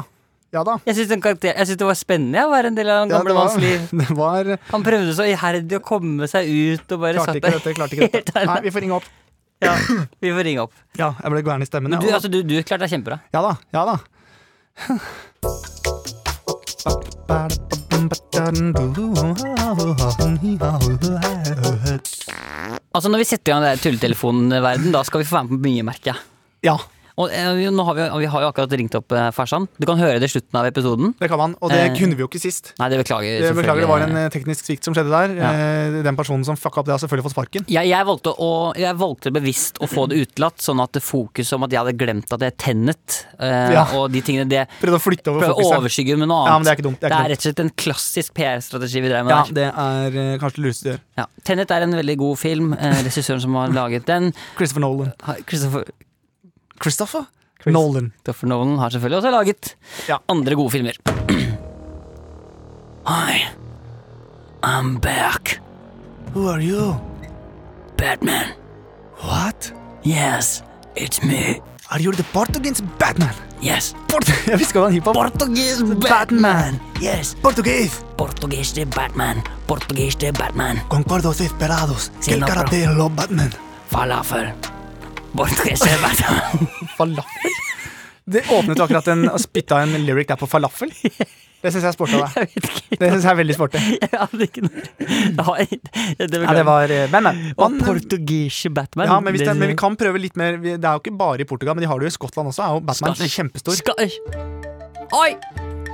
S3: Ja da.
S2: Jeg syns den karakter- jeg syns det var spennende ja, å være en del av den
S3: Ja,
S2: gamle manns liv.
S3: det var
S2: Han prøvde så iherdig å komme seg ut og bare
S3: Klarte
S2: satt
S3: ikke
S2: der.
S3: dette. klarte ikke
S2: helt
S3: dette. Nei,
S2: alene.
S3: vi får ringe opp.
S2: Ja, vi får ringe opp.
S3: Ja, jeg ble gæren i stemmen.
S2: Men du,
S3: Ja,
S2: altså, du, du klarte deg kjempebra.
S3: ja da. Ja da.
S2: Altså, når vi setter i gang den der tulletelefonverden, da skal vi få være med på mye, merker jeg.
S3: Ja,
S2: Og eh, vi, nå har vi, vi har jo akkurat ringt opp eh, farsan. Du kan høre det i slutten av episoden.
S3: det kan man. Og det
S2: Eh,
S3: kunne vi jo ikke sist.
S2: Nei, det beklager.
S3: Det, beklager, det var en
S2: selvfølgelig.
S3: eh, teknisk svikt som skjedde der. Eh, Den personen som fucka opp det, har selvfølgelig fått sparken.
S2: jeg, jeg, valgte å, jeg valgte bevisst å få det utelatt, sånn at det fokuset om at jeg hadde glemt at jeg tennet, eh,
S3: Ja.
S2: og de tingene det
S3: Prøvde å flytte over
S2: prøver å
S3: fokuset.
S2: overskygge med noe annet.
S3: Ja, men det er ikke dumt, det er ikke dumt.
S2: rett og slett en klassisk PR-strategi vi drev med
S3: Ja,
S2: der.
S3: det er eh, kanskje det lureste du gjør.
S2: Ja. Tenet er en veldig god film. Eh, regissøren som har laget den,
S3: Christopher Nolan.
S2: har- Christopher,
S3: Christopher? Nolan.
S2: Christopher Nolan, har selvfølgelig også laget
S3: Ja.
S2: andre gode filmer. Hi, I'm back.
S3: Who are you?
S2: Batman.
S3: What?
S2: Yes, it's me.
S3: Are you the Portuguese Batman?
S2: Yes,
S3: Port jeg visste ikke at han hiphop.
S2: Portuguese
S3: Batman.
S2: Yes,
S3: Portuguese!
S2: portugiste Batman. Portugiste Batman.
S3: Concordos esperados.
S2: Sí, no, bro.
S3: lo Batman?
S2: Falafel. Portugiste Batman.
S3: Falafel? Det åpnet jo akkurat en og spytta en lyric der på falafel. Det syns jeg er sporty av deg.
S2: Jeg vet ikke.
S3: Det synes jeg er veldig sporty.
S2: Jeg hadde ikke noe Nei, det, det
S3: Ja, det var eh, Men, men.
S2: Og
S3: man-
S2: portugisiske Batman.
S3: ja, men, hvis det, men vi kan prøve litt mer. Vi- Det er jo ikke bare i Portugal, men de har det jo i Skottland også. Er jo Batman
S2: Skal-
S3: kjempestor.
S2: Skal- Oi!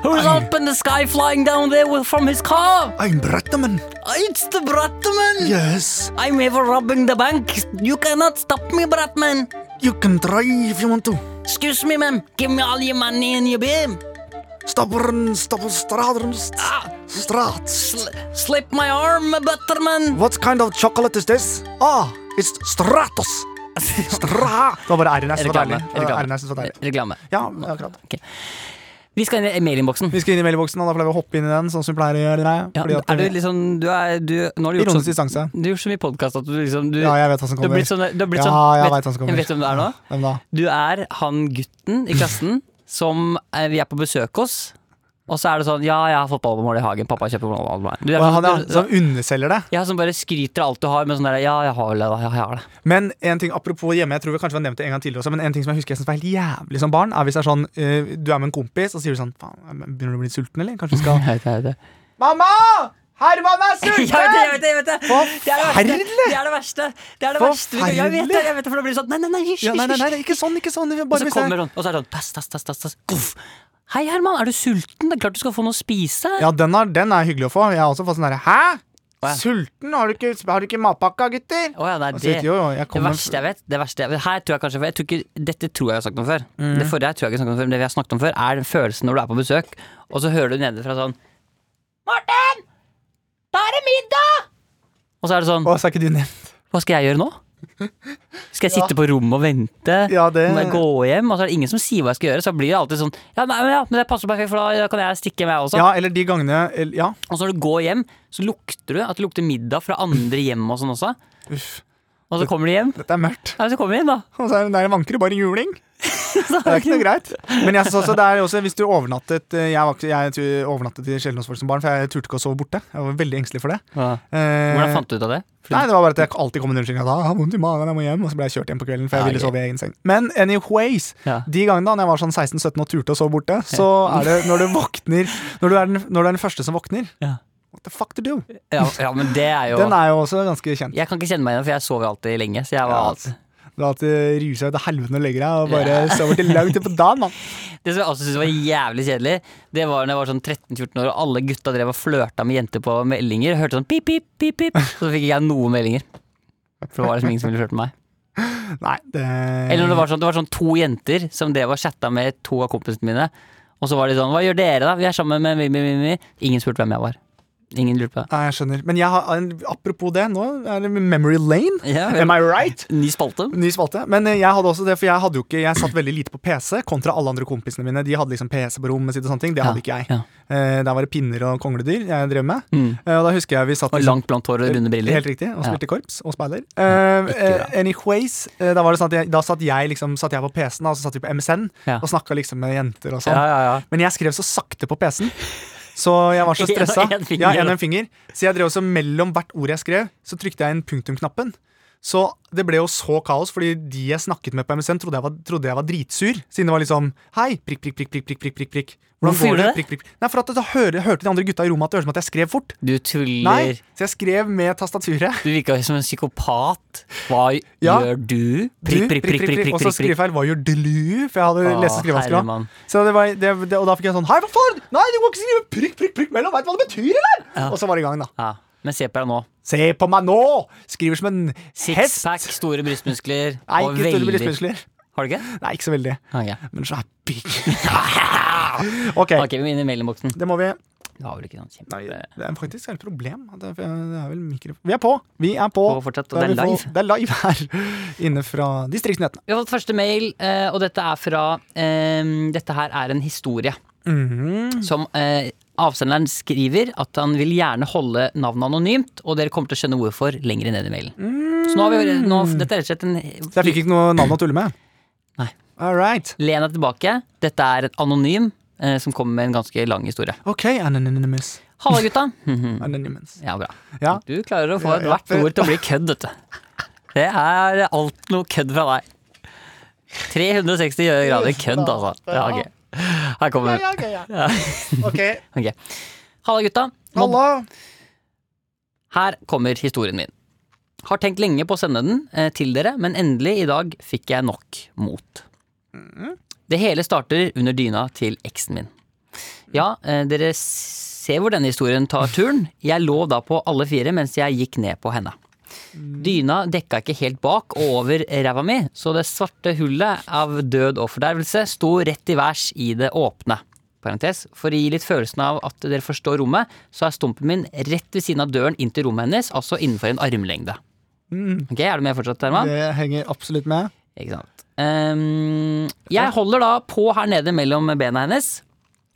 S2: Who's
S3: Oi.
S2: up in the sky flying down there with, from his car?
S3: I'm Bratman.
S2: It's the Bratman!
S3: Yes.
S2: I'm ever robbing the bank. You cannot stop me, Bratman.
S3: You can try if you want to.
S2: Excuse me, ma'am. Give me all your money and your beam.
S3: Stabberen, stabberen, straderen, strats.
S2: Sl- slip my arm, Butterman.
S3: What kind of chocolate is this? Ah, it's stratos. Stra... Det var bare æren jeg syntes var
S2: Reklame.
S3: deilig. Det var æren jeg syntes var deilig.
S2: Reklame.
S3: Ja, akkurat.
S2: Vi skal inn i mailinnboksen.
S3: Vi skal inn i mailboksen, og da pleier vi å hoppe inn i den, sånn som vi pleier å gjøre. Nei,
S2: Ja,
S3: fordi at
S2: er du litt sånn Du er du, Nå har du gjort
S3: Ironisk
S2: sånn
S3: distanse.
S2: Du har gjort så mye podkast at du liksom du,
S3: Ja, jeg vet hva som
S2: Du har
S3: kommer.
S2: blitt sånn, du har blitt
S3: Ja,
S2: sånn
S3: jeg
S2: vet,
S3: vet hva som kommer.
S2: Vet du hvem det er nå?
S3: Hvem da?
S2: Du er han gutten i klassen som eh, vi er på besøk hos. Og så er det sånn Ja, jeg har fotballmål i hagen. Pappa kjøper fotballmål. Du,
S3: Og han er,
S2: er,
S3: som underselger det.
S2: ja, som bare skryter av alt du har, men sånn der Ja, jeg har det. da, Ja, jeg har det.
S3: Men en ting apropos hjemme, jeg tror vi kanskje har nevnt det en gang tidligere også, men en ting som jeg husker jeg synes var helt jævlig som barn, er hvis det er sånn eh, Du er med en kompis, og så sier du sånn Faen, begynner du å bli sulten, eller? Kanskje vi skal
S2: Jeg vet det, jeg vet det.
S3: Mamma! Herman er
S2: Jeg vet det, jeg vet det, jeg vet det. Det er
S3: Forferdelig!
S2: det verste. Det er det verste. Det er det verste. vi kan- Jeg vet det,
S3: Forferdelig!
S2: jeg vet det, for da blir det sånn Nei, nei, nei, hysj,
S3: Ja, nei, nei,
S2: hysj.
S3: nei, ikke sånn, ikke sånn. vi
S2: Og
S3: Bare
S2: så
S3: hvis jeg-
S2: kommer hun, og så er det sånn tass, tass, tass, tass, tass. Uff. Hei, Herman, er du sulten? Det er klart du skal få noe å spise.
S3: Ja, den er, den er hyggelig å få. Jeg har også fått sånn derre Hæ?
S2: Å, ja.
S3: Sulten? Har du ikke, har du ikke matpakka, gutter?
S2: Å ja, nei,
S3: Og så
S2: det,
S3: sitter jo, jeg
S2: det
S3: kommer-
S2: verste jeg vet, det verste jeg vet Her tror jeg kanskje jeg tror ikke, Dette tror jeg jeg har snakket om før.
S3: Mm.
S2: Det forrige jeg tror jeg ikke har snakket om før, men det vi har snakket om før, er den følelsen når du er på besøk, og så hører du nedenfra sånn Martin! Da er det middag! Og så er det sånn
S3: Å, så er ikke du nevnt.
S2: Hva skal jeg gjøre nå? Skal jeg sitte på rommet og vente?
S3: Ja, det-
S2: Må jeg gå hjem? Og så er det ingen som sier hva jeg skal gjøre. Så blir det alltid sånn Ja, nei, men, ja men det passer perfekt, for da kan jeg stikke hjem, jeg også.
S3: Ja, eller de gangene eller- Ja.
S2: Og så når du går hjem, så lukter du at det lukter middag fra andre hjem og sånn også.
S3: Uff.
S2: Og så kommer de hjem.
S3: Dette er mørkt.
S2: Ja, så kommer de hjem, da.
S3: Og så er det der vanker det bare juling. Det er ikke noe greit. Men jeg synes også, det er også hvis du overnattet eh, Jeg, var, ikke- jeg tu- overnattet i sjelden hos folk som barn, for jeg turte ikke å sove borte. Jeg var veldig engstelig for det. Eh,
S2: Hvordan fant du ut av det? Fordi-
S3: Nei, det var bare at jeg alltid kom med en unnskyldning. at, «Ah, Jeg har vondt i magen, jeg må hjem. Og så ble jeg kjørt hjem på kvelden, for jeg
S2: Ja,
S3: ville
S2: ok.
S3: sove i egen seng. Men anyways,
S2: Ja.
S3: de gangene da når jeg var sånn 16-17 og turte å sove borte, så er det når du våkner Når du er den, når du er den første som våkner
S2: Ja.
S3: What the fuck to do?
S2: Ja, ja, men det er jo
S3: Eh, Den er jo også ganske kjent.
S2: Jeg kan ikke kjenne meg igjen, for jeg sover alltid lenge. Så jeg var
S3: Ja,
S2: alt.
S3: altså. Du har hatt eh, ruset ut av helvete og legger deg og bare sover til langt utpå dagen, mann.
S2: Det som jeg også syntes var jævlig kjedelig, det var når jeg var sånn 13-14 år og alle gutta drev og flørta med jenter på meldinger. Hørte sånn pip, pip, pip, pip. Så fikk ikke jeg noen meldinger. For det var liksom ingen som ville flørte med meg.
S3: Nei, det
S2: Eller når det var sånn, det var sånn to jenter som drev og chatta med to av kompisene mine. Og så var de sånn Hva gjør dere, da? Vi er sammen med mi, mi, mi, mi. Ingen spurte hvem jeg var. Ingen lurte på det.
S3: Nei, jeg skjønner. Men jeg har, en- apropos det, nå er det Memory Lane.
S2: Ja, vel.
S3: Am I right?
S2: Ny spalte.
S3: Ny spalte. Men eh, jeg hadde også det, for jeg hadde jo ikke Jeg satt veldig lite på PC, kontra alle andre kompisene mine. De hadde liksom PC på rommet sitt og sånne ting. Det hadde ikke jeg.
S2: ja. Mm.
S3: Eh, der var det pinner og kongledyr jeg drev med. Eh, og da husker jeg vi satt
S2: Og
S3: liksom-
S2: langt blondt hår og runde briller.
S3: Helt riktig. Og
S2: Ja.
S3: spilte korps og speider. Eh, eh, anyways, eh, da var det sånn at jeg, da satt jeg liksom Satt jeg på PC-en, da, og så satt vi på MSN
S2: Ja.
S3: og snakka liksom med jenter og sånn.
S2: Ja, ja, ja.
S3: Men jeg skrev så sakte på PC-en. Så jeg var så
S2: En og
S3: stressa.
S2: en finger.
S3: Ja, en og en finger. Så jeg drev også mellom hvert ord jeg skrev, så trykte jeg inn punktumknappen. Så det ble jo så kaos, fordi de jeg snakket med på MSN, trodde jeg var, trodde jeg var dritsur. Siden det var liksom Hei, prikk, prikk, prikk, prikk, prikk, prikk, prikk, prikk. Hvordan
S2: Hvorfor
S3: går
S2: gjorde
S3: det?
S2: du det?
S3: Prikk, prikk. Nei, for at da hører, hørte de andre gutta i rommet at det høres ut som at jeg skrev fort.
S2: Du tuller.
S3: Nei, så jeg skrev med tastaturet.
S2: Du virka som en psykopat. Hva
S3: Ja.
S2: gjør du?
S3: Du, prikk, prikk, prikk, Og så skrivefeil. Hva gjør du? For jeg hadde
S2: Å,
S3: lese- og skrivevansker. da.
S2: herremann.
S3: Så det var, det, det, og da fikk jeg sånn Hei, hva faen? Nei, du må ikke skrive prikk, prikk, prikk mellom. Veit du hva det betyr, eller? Og så var det i gang, da.
S2: Ja. Men se på deg nå.
S3: Se på meg nå! Skriver som en hest.
S2: Sixpack, store brystmuskler
S3: Nei,
S2: og
S3: ikke store
S2: veldig-
S3: brystmuskler.
S2: Har du ikke?
S3: Nei, ikke så veldig.
S2: Ok,
S3: Men så er jeg big. ok,
S2: Ok, vi må inn i mailinnboksen.
S3: det må vi.
S2: Du har vel ikke noen kjempe...
S3: Nei, det er faktisk et problem. at Det er det er vel mikro... Vi er på! Vi er på.
S2: På fortsatt, og
S3: Da
S2: det er
S3: vi på-
S2: live.
S3: Det er live her inne fra distriktsnyhetene.
S2: Vi har fått første mail, eh, og dette er fra eh, Dette her er en historie.
S3: Mhm.
S2: Som eh, avsenderen skriver at han vil gjerne holde navnet anonymt, og dere kommer til å skjønne hvorfor lenger ned i mailen. Så nå har vi nå,
S3: Mm.
S2: Dette er rett og slett en
S3: Så jeg fikk ikke noe navn å tulle med.
S2: Nei.
S3: All right.
S2: Len deg tilbake. Dette er et anonym eh, som kommer med en ganske lang historie.
S3: OK, anonymous.
S2: Halla, gutta. Mhm.
S3: anonymous.
S2: ja, bra.
S3: Ja.
S2: Du klarer å få
S3: Ja, ja.
S2: ethvert ord til å bli kødd, vet du. Det er alt noe kødd fra deg. 360 grader kødd, altså. Ja, ok. Her kommer den.
S3: ok, ja. Ok.
S2: Ok. Halla, gutta. Mobb-
S3: Hallo.
S2: Her kommer historien min. Har tenkt lenge på å sende den eh, til dere, men endelig i dag fikk jeg nok mot. Det hele starter under dyna til eksen min. Ja, eh, dere ser hvor denne historien tar turen. Jeg lå da på alle fire mens jeg gikk ned på henne. Dyna dekka ikke helt bak og over ræva mi, så det svarte hullet av død og fordervelse sto rett i værs i det åpne. Parentes. For å gi litt følelsen av at dere forstår rommet, så er stumpen min rett ved siden av døren inn til rommet hennes, altså innenfor en armlengde. Ok, Er du med fortsatt, Herman?
S3: Det henger absolutt med.
S2: Ikke sant. Ehm, jeg holder da på her nede mellom bena hennes,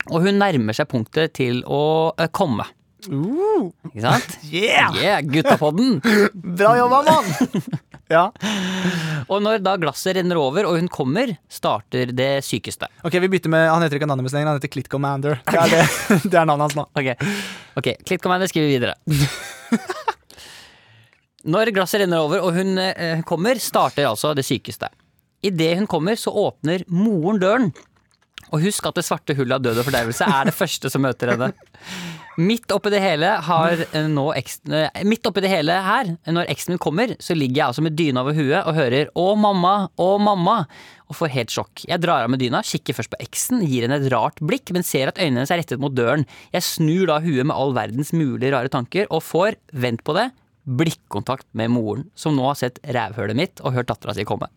S2: og hun nærmer seg punktet til å eh, komme.
S3: Uh,
S2: Ikke sant?
S3: yeah!
S2: Yeah, gutta på den!
S3: Bra jobba, mann! ja.
S2: Og når da glasset renner over og hun kommer, starter det sykeste.
S3: Ok, vi bytter med Han heter ikke Anonymous lenger, han heter Clit Commander. Det er, det, det er navnet hans nå.
S2: Ok, ok, Klipp Commander skriver videre. Når glasset renner over og hun eh, kommer, starter altså det sykeste. Idet hun kommer, så åpner moren døren. Og husk at det svarte hullet av død og fordervelse er det første som møter henne. Midt oppi det hele har eh, nå eksen, eh, Midt oppi det hele her, når eksen min kommer, så ligger jeg altså med dyna over huet og hører 'Å, mamma, å, mamma', og får helt sjokk. Jeg drar av med dyna, kikker først på eksen, gir henne et rart blikk, men ser at øynene hennes er rettet mot døren. Jeg snur da huet med all verdens mulige rare tanker, og får, vent på det, blikkontakt med moren, som nå har sett rævhølet mitt og hørt dattera si komme.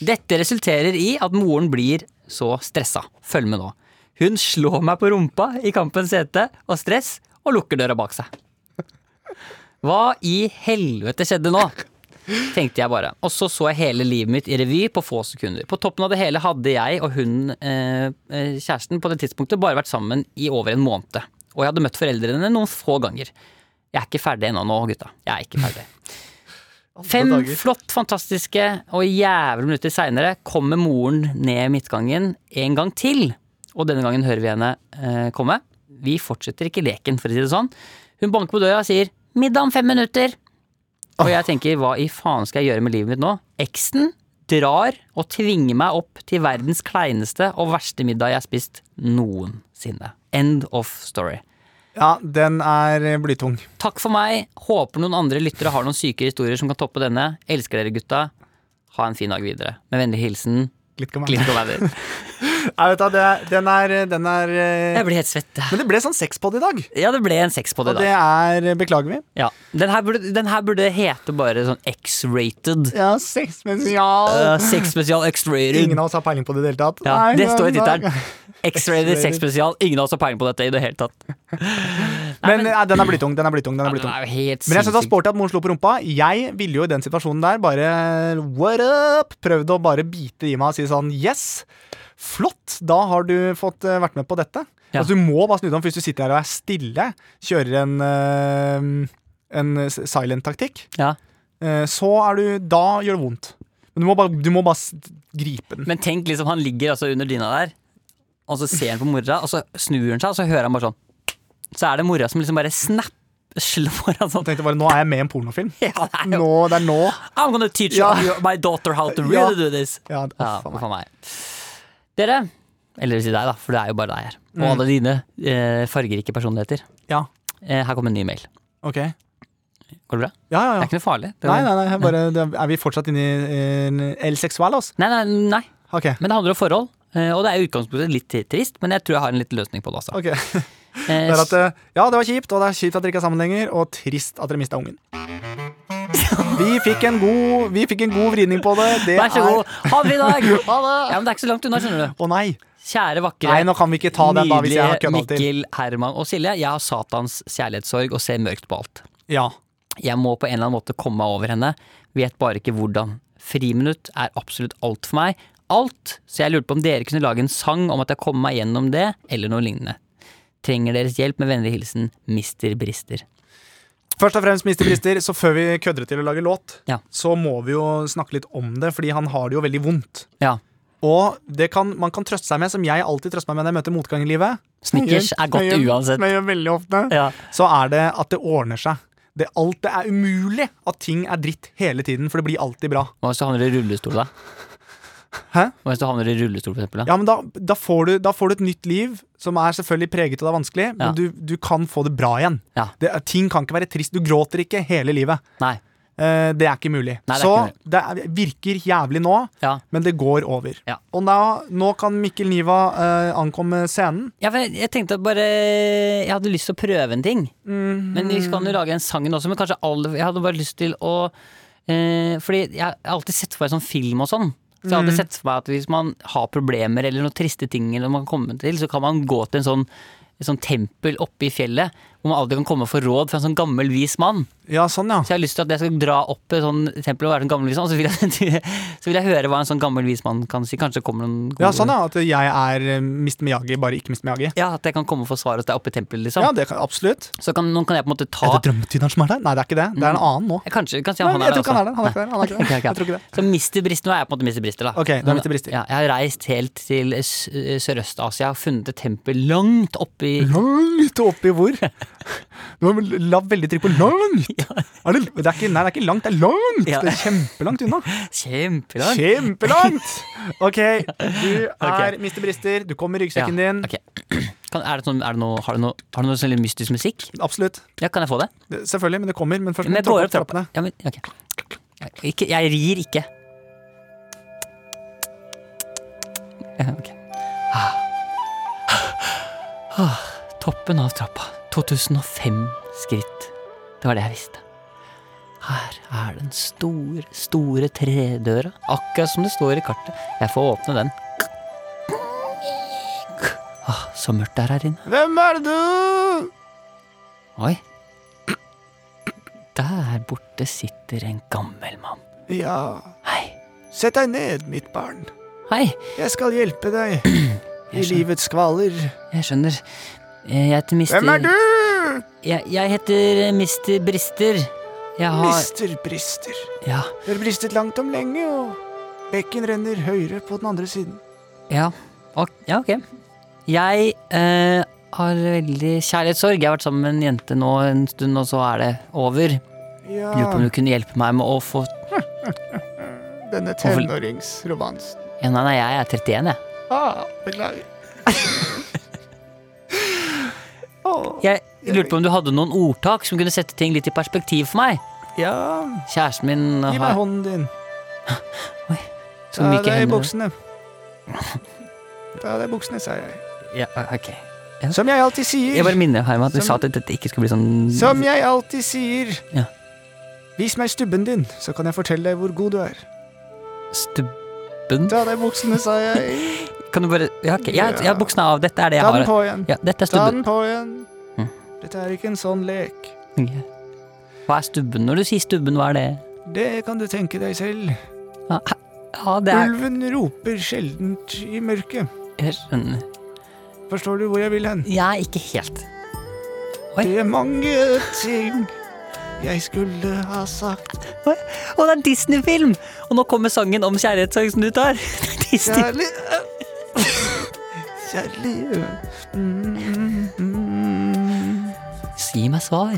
S2: Dette resulterer i at moren blir så stressa. Følg med nå. Hun slår meg på rumpa i kampens hete og stress og lukker døra bak seg. Hva i helvete skjedde nå? Tenkte jeg bare. Og så så jeg hele livet mitt i revy på få sekunder. På toppen av det hele hadde jeg og hun, eh, eh, kjæresten, på det tidspunktet bare vært sammen i over en måned. Og jeg hadde møtt foreldrene noen få ganger. Jeg er ikke ferdig ennå nå, gutta. Jeg er ikke ferdig. Fem
S3: dager.
S2: flott, fantastiske og jævlig minutter seinere kommer moren ned midtgangen en gang til. Og denne gangen hører vi henne eh, komme. Vi fortsetter ikke leken, for å si det sånn. Hun banker på døra og sier 'middag om fem minutter'. Og jeg tenker 'hva i faen skal jeg gjøre med livet mitt nå?' Eksen drar og tvinger meg opp til verdens kleineste og verste middag jeg har spist noensinne. End of story.
S3: Ja, den er eh, blytung.
S2: Takk for meg. Håper noen andre lyttere har noen syke historier som kan toppe denne. Elsker dere, gutta. Ha en fin dag videre. Med vennlig hilsen
S3: Litt kom
S2: Glimt og Væder.
S3: Jeg vet da, det, er- den er, eh, den er eh,
S2: Jeg blir helt svett.
S3: Men det ble sånn sexpod i dag.
S2: Ja, det ble en sex på det,
S3: Og det
S2: da.
S3: er eh, Beklager vi.
S2: Ja. Den, her burde, den her burde hete bare sånn X-rated.
S3: Ja, sexspesial.
S2: Uh, sex spesial X-rated.
S3: Ingen av oss har peiling på det i det hele tatt.
S2: Ja,
S3: Nei,
S2: det står i
S3: nei, nei.
S2: tittelen. X-rated sex spesial. Ingen av oss har peiling på dette i det hele tatt.
S3: Men nei, den er blytung. Den er blytung, den er
S2: Den
S3: blytung.
S2: er jo helt
S3: Men jeg synes det var
S2: sinnssyk.
S3: sporty at moren slo på rumpa. Jeg ville jo i den situasjonen der bare What up? Prøvd å bare bite i meg og si sånn yes. Flott, da har du fått eh, vært med på dette.
S2: Ja.
S3: Altså Du må bare snu deg om hvis du sitter her og er stille, kjører en, eh, en s- silent taktikk.
S2: Ja.
S3: eh, så er du Da gjør det vondt. Men du må bare, du må bare s- gripe den.
S2: Men tenk liksom, han ligger altså under dyna der, og så ser han på mora, og så snur han seg, og så hører han bare sånn. Så er det mora som liksom bare snap slår
S3: Jeg
S2: han sånn.
S3: tenkte bare, Nå er jeg med i en pornofilm.
S2: Ja, det er jo
S3: Nå, det er nå.
S2: I'm gonna teach
S3: Ja.
S2: you- my daughter how to
S3: Ja.
S2: really do this.
S3: Ja, å,
S2: Ja,
S3: faen meg.
S2: for meg. Dere, eller si deg da, for det er jo bare deg her, og
S3: Mm.
S2: alle dine eh, fargerike personligheter.
S3: ja.
S2: Eh, her kommer en ny mail.
S3: ok. Ja,
S2: Går det bra?
S3: ja,
S2: Det
S3: ja.
S2: er ikke noe farlig. Det
S3: Nei, nei, nei, jeg bare, det, er vi fortsatt inne i eh, El Sexualos?
S2: nei, nei, nei.
S3: Ok.
S2: Men det handler om forhold, eh, og det er i utgangspunktet litt t- trist, men jeg tror jeg har en liten løsning på det også.
S3: ok.
S2: Eh,
S3: Det er at, eh, ja, det var kjipt, og det er kjipt at dere ikke er sammen lenger, og trist at dere mista ungen. Vi fikk en god, vi fikk en god vridning på det. det
S2: Vær så
S3: er-
S2: god. Ha det i dag!
S3: Ha det!
S2: Ja, men det er ikke så langt unna, skjønner du.
S3: Å nei.
S2: Kjære, vakre,
S3: Nei, nå kan vi ikke ta den da, hvis jeg har
S2: nydelige
S3: kødda til.
S2: Mikkel, Herman og Silje. Jeg har Satans kjærlighetssorg og ser mørkt på alt.
S3: Ja.
S2: Jeg må på en eller annen måte komme meg over henne. Vet bare ikke hvordan. Friminutt er absolutt alt for meg. Alt. Så jeg lurte på om dere kunne lage en sang om at jeg kommer meg gjennom det, eller noe lignende. Trenger deres hjelp med vennlig hilsen Mister Brister.
S3: Først og fremst, Mr. Brister, så før vi kødder til å lage låt,
S2: Ja.
S3: så må vi jo snakke litt om det, fordi han har det jo veldig vondt.
S2: Ja.
S3: Og det kan, man kan trøste seg med, som jeg alltid trøster meg med når jeg møter motgang i livet.
S2: Snickers er godt
S3: Jeg gjør-
S2: uansett.
S3: Jeg gjør veldig ofte.
S2: Ja.
S3: så er det at det ordner seg. Det, alt, det er umulig at ting er dritt hele tiden, for det blir alltid bra.
S2: Hva hvis du havner i rullestol, da?
S3: Hæ?
S2: Hva hvis du havner i rullestol, for eksempel? Da?
S3: Ja, men da, da, får du, da får du et nytt liv, som er selvfølgelig preget av det vanskelige,
S2: Ja.
S3: men du, du kan få det bra igjen.
S2: Ja.
S3: Det, er- ting kan ikke være trist. Du gråter ikke hele livet.
S2: Nei.
S3: Eh, det er ikke mulig.
S2: Nei, det er
S3: så
S2: ikke
S3: det er, virker jævlig nå,
S2: Ja.
S3: men det går over.
S2: Ja.
S3: Og da, nå kan Mikkel Niva eh, ankomme scenen.
S2: Ja, for jeg, jeg tenkte at bare Jeg hadde lyst til å prøve en ting.
S3: Mhm.
S2: Men vi kan jo lage en sang også. Men kanskje alle Jeg hadde bare lyst til å eh, Fordi jeg har alltid sett for meg sånn film og sånn. Så jeg har
S3: Mhm.
S2: alltid sett for meg at hvis man har problemer eller noen triste ting, Eller man kan komme til så kan man gå til en sånn, en sånn tempel oppe i fjellet hvor man alltid kan komme og få råd fra en sånn gammel, vis mann.
S3: Ja, sånn, ja.
S2: Så jeg har lyst til at jeg skal dra opp et sånn tempel og være en gammel vis mann, og så vil jeg, så vil jeg høre hva en sånn gammel vis mann kan si. Kanskje det kommer noen gode
S3: Ja, sånn, ja. At jeg er eh, Mr. Miyagi, bare ikke Mr. Miyagi.
S2: Ja, At jeg kan komme og få svar hos deg oppe i tempelet, liksom.
S3: Ja, det kan, absolutt.
S2: Så kan, nå kan jeg på en måte ta
S3: Er det drømmetyderen som er der? Nei, det er ikke det. Det er en annen nå.
S2: Jeg Kanskje, kanskje
S3: Nei,
S2: Mm. han
S3: jeg
S2: er altså-
S3: tror ikke han er det. Han
S2: der
S3: er ikke der. Han er ikke der. Jeg tror ikke det.
S2: Så Mr. Brister, nå er jeg på en måte Mr. Brister, da.
S3: Ok, du er Mr. Brister.
S2: Ja, jeg har reist helt til eh, Sø- eh, Sørøst-Asia og funnet et tempel langt oppe i
S3: Langt oppi hvor? Du har la veldig trykk på langt! Er det, det er ikke, nei, det er ikke langt, det er langt!
S2: Ja.
S3: Det er kjempelangt unna.
S2: Kjempelangt.
S3: Kjempelangt! Ok, du er
S2: Ok.
S3: Mr. Brister. Du kommer med ryggsekken
S2: Ja,
S3: din.
S2: ok. Kan, er det sånn, er det noe, har du noe, har du noe sånn litt mystisk musikk?
S3: Absolutt.
S2: Ja, kan jeg få det?
S3: Det- Selvfølgelig, men det kommer. Men først
S2: Men
S3: må
S2: jeg
S3: du tråkke opp
S2: går opp trappa.
S3: trappene.
S2: Ja, men, ok. jeg, ikke, jeg rir ikke. Ja, ok. Ah. Ah. Toppen av trappa. 2005 skritt. Det var det jeg visste. Her er den store, store tredøra. Akkurat som det står i kartet. Jeg får åpne den. Ah, så mørkt det er her inne.
S3: Hvem er du?
S2: Oi. Der borte sitter en gammel mann.
S3: Ja,
S2: Hei.
S3: sett deg ned, mitt barn.
S2: Hei.
S3: Jeg skal hjelpe deg i livets skvaler.
S2: Jeg skjønner. Eh, Jeg heter Mister
S3: Hvem er du?
S2: Jeg, jeg heter eh, Mister Brister. Jeg har
S3: Mister brister.
S2: Ja.
S3: Det har bristet langt om lenge, og bekken renner høyere på den andre siden.
S2: Ja, ok. Ja, ok. Jeg eh, har veldig kjærlighetssorg. Jeg har vært sammen med en jente nå en stund, og så er det over.
S3: Ja,
S2: Lurer på om du kunne hjelpe meg med å få
S3: denne tenåringsromansen.
S2: ja, Nei, nei, jeg er 31, jeg.
S3: Ah, beklager. Åh,
S2: Jeg lurte på om du hadde noen ordtak som kunne sette ting litt i perspektiv for meg.
S3: ja,
S2: Kjæresten min
S3: gi meg
S2: har
S3: hånden din.
S2: så
S3: Ta av
S2: myke
S3: deg
S2: hender.
S3: buksene. Ta av deg buksene, sa jeg.
S2: Ja, ok.
S3: Som jeg alltid sier.
S2: Jeg bare minner Herman at du
S3: Som-
S2: sa at dette ikke skulle bli sånn
S3: Som jeg alltid sier.
S2: Ja.
S3: Vis meg stubben din, så kan jeg fortelle deg hvor god du er.
S2: stubben.
S3: Ta av deg buksene, sa jeg.
S2: Kan du bare Ja, ok. Jeg, jeg har buksene av. Dette er det jeg
S3: Ta den
S2: har.
S3: på igjen.
S2: Ja, dette er
S3: Ta
S2: stubben.
S3: den på igjen.
S2: Mm.
S3: Dette er ikke en sånn lek.
S2: Hva er stubben? Når du sier stubben, hva er det?
S3: Det kan du tenke deg selv.
S2: Ja, ja det er
S3: Ulven roper sjeldent i mørket.
S2: Jeg skjønner.
S3: Forstår du hvor jeg vil hen?
S2: Jeg er ikke helt Oi.
S3: Det er mange ting jeg skulle ha sagt.
S2: Og det er en Disney-film! Og nå kommer sangen om kjærlighetssorg som du tar. Disney.
S3: Kjærlig Kjærlig
S2: Si meg svar.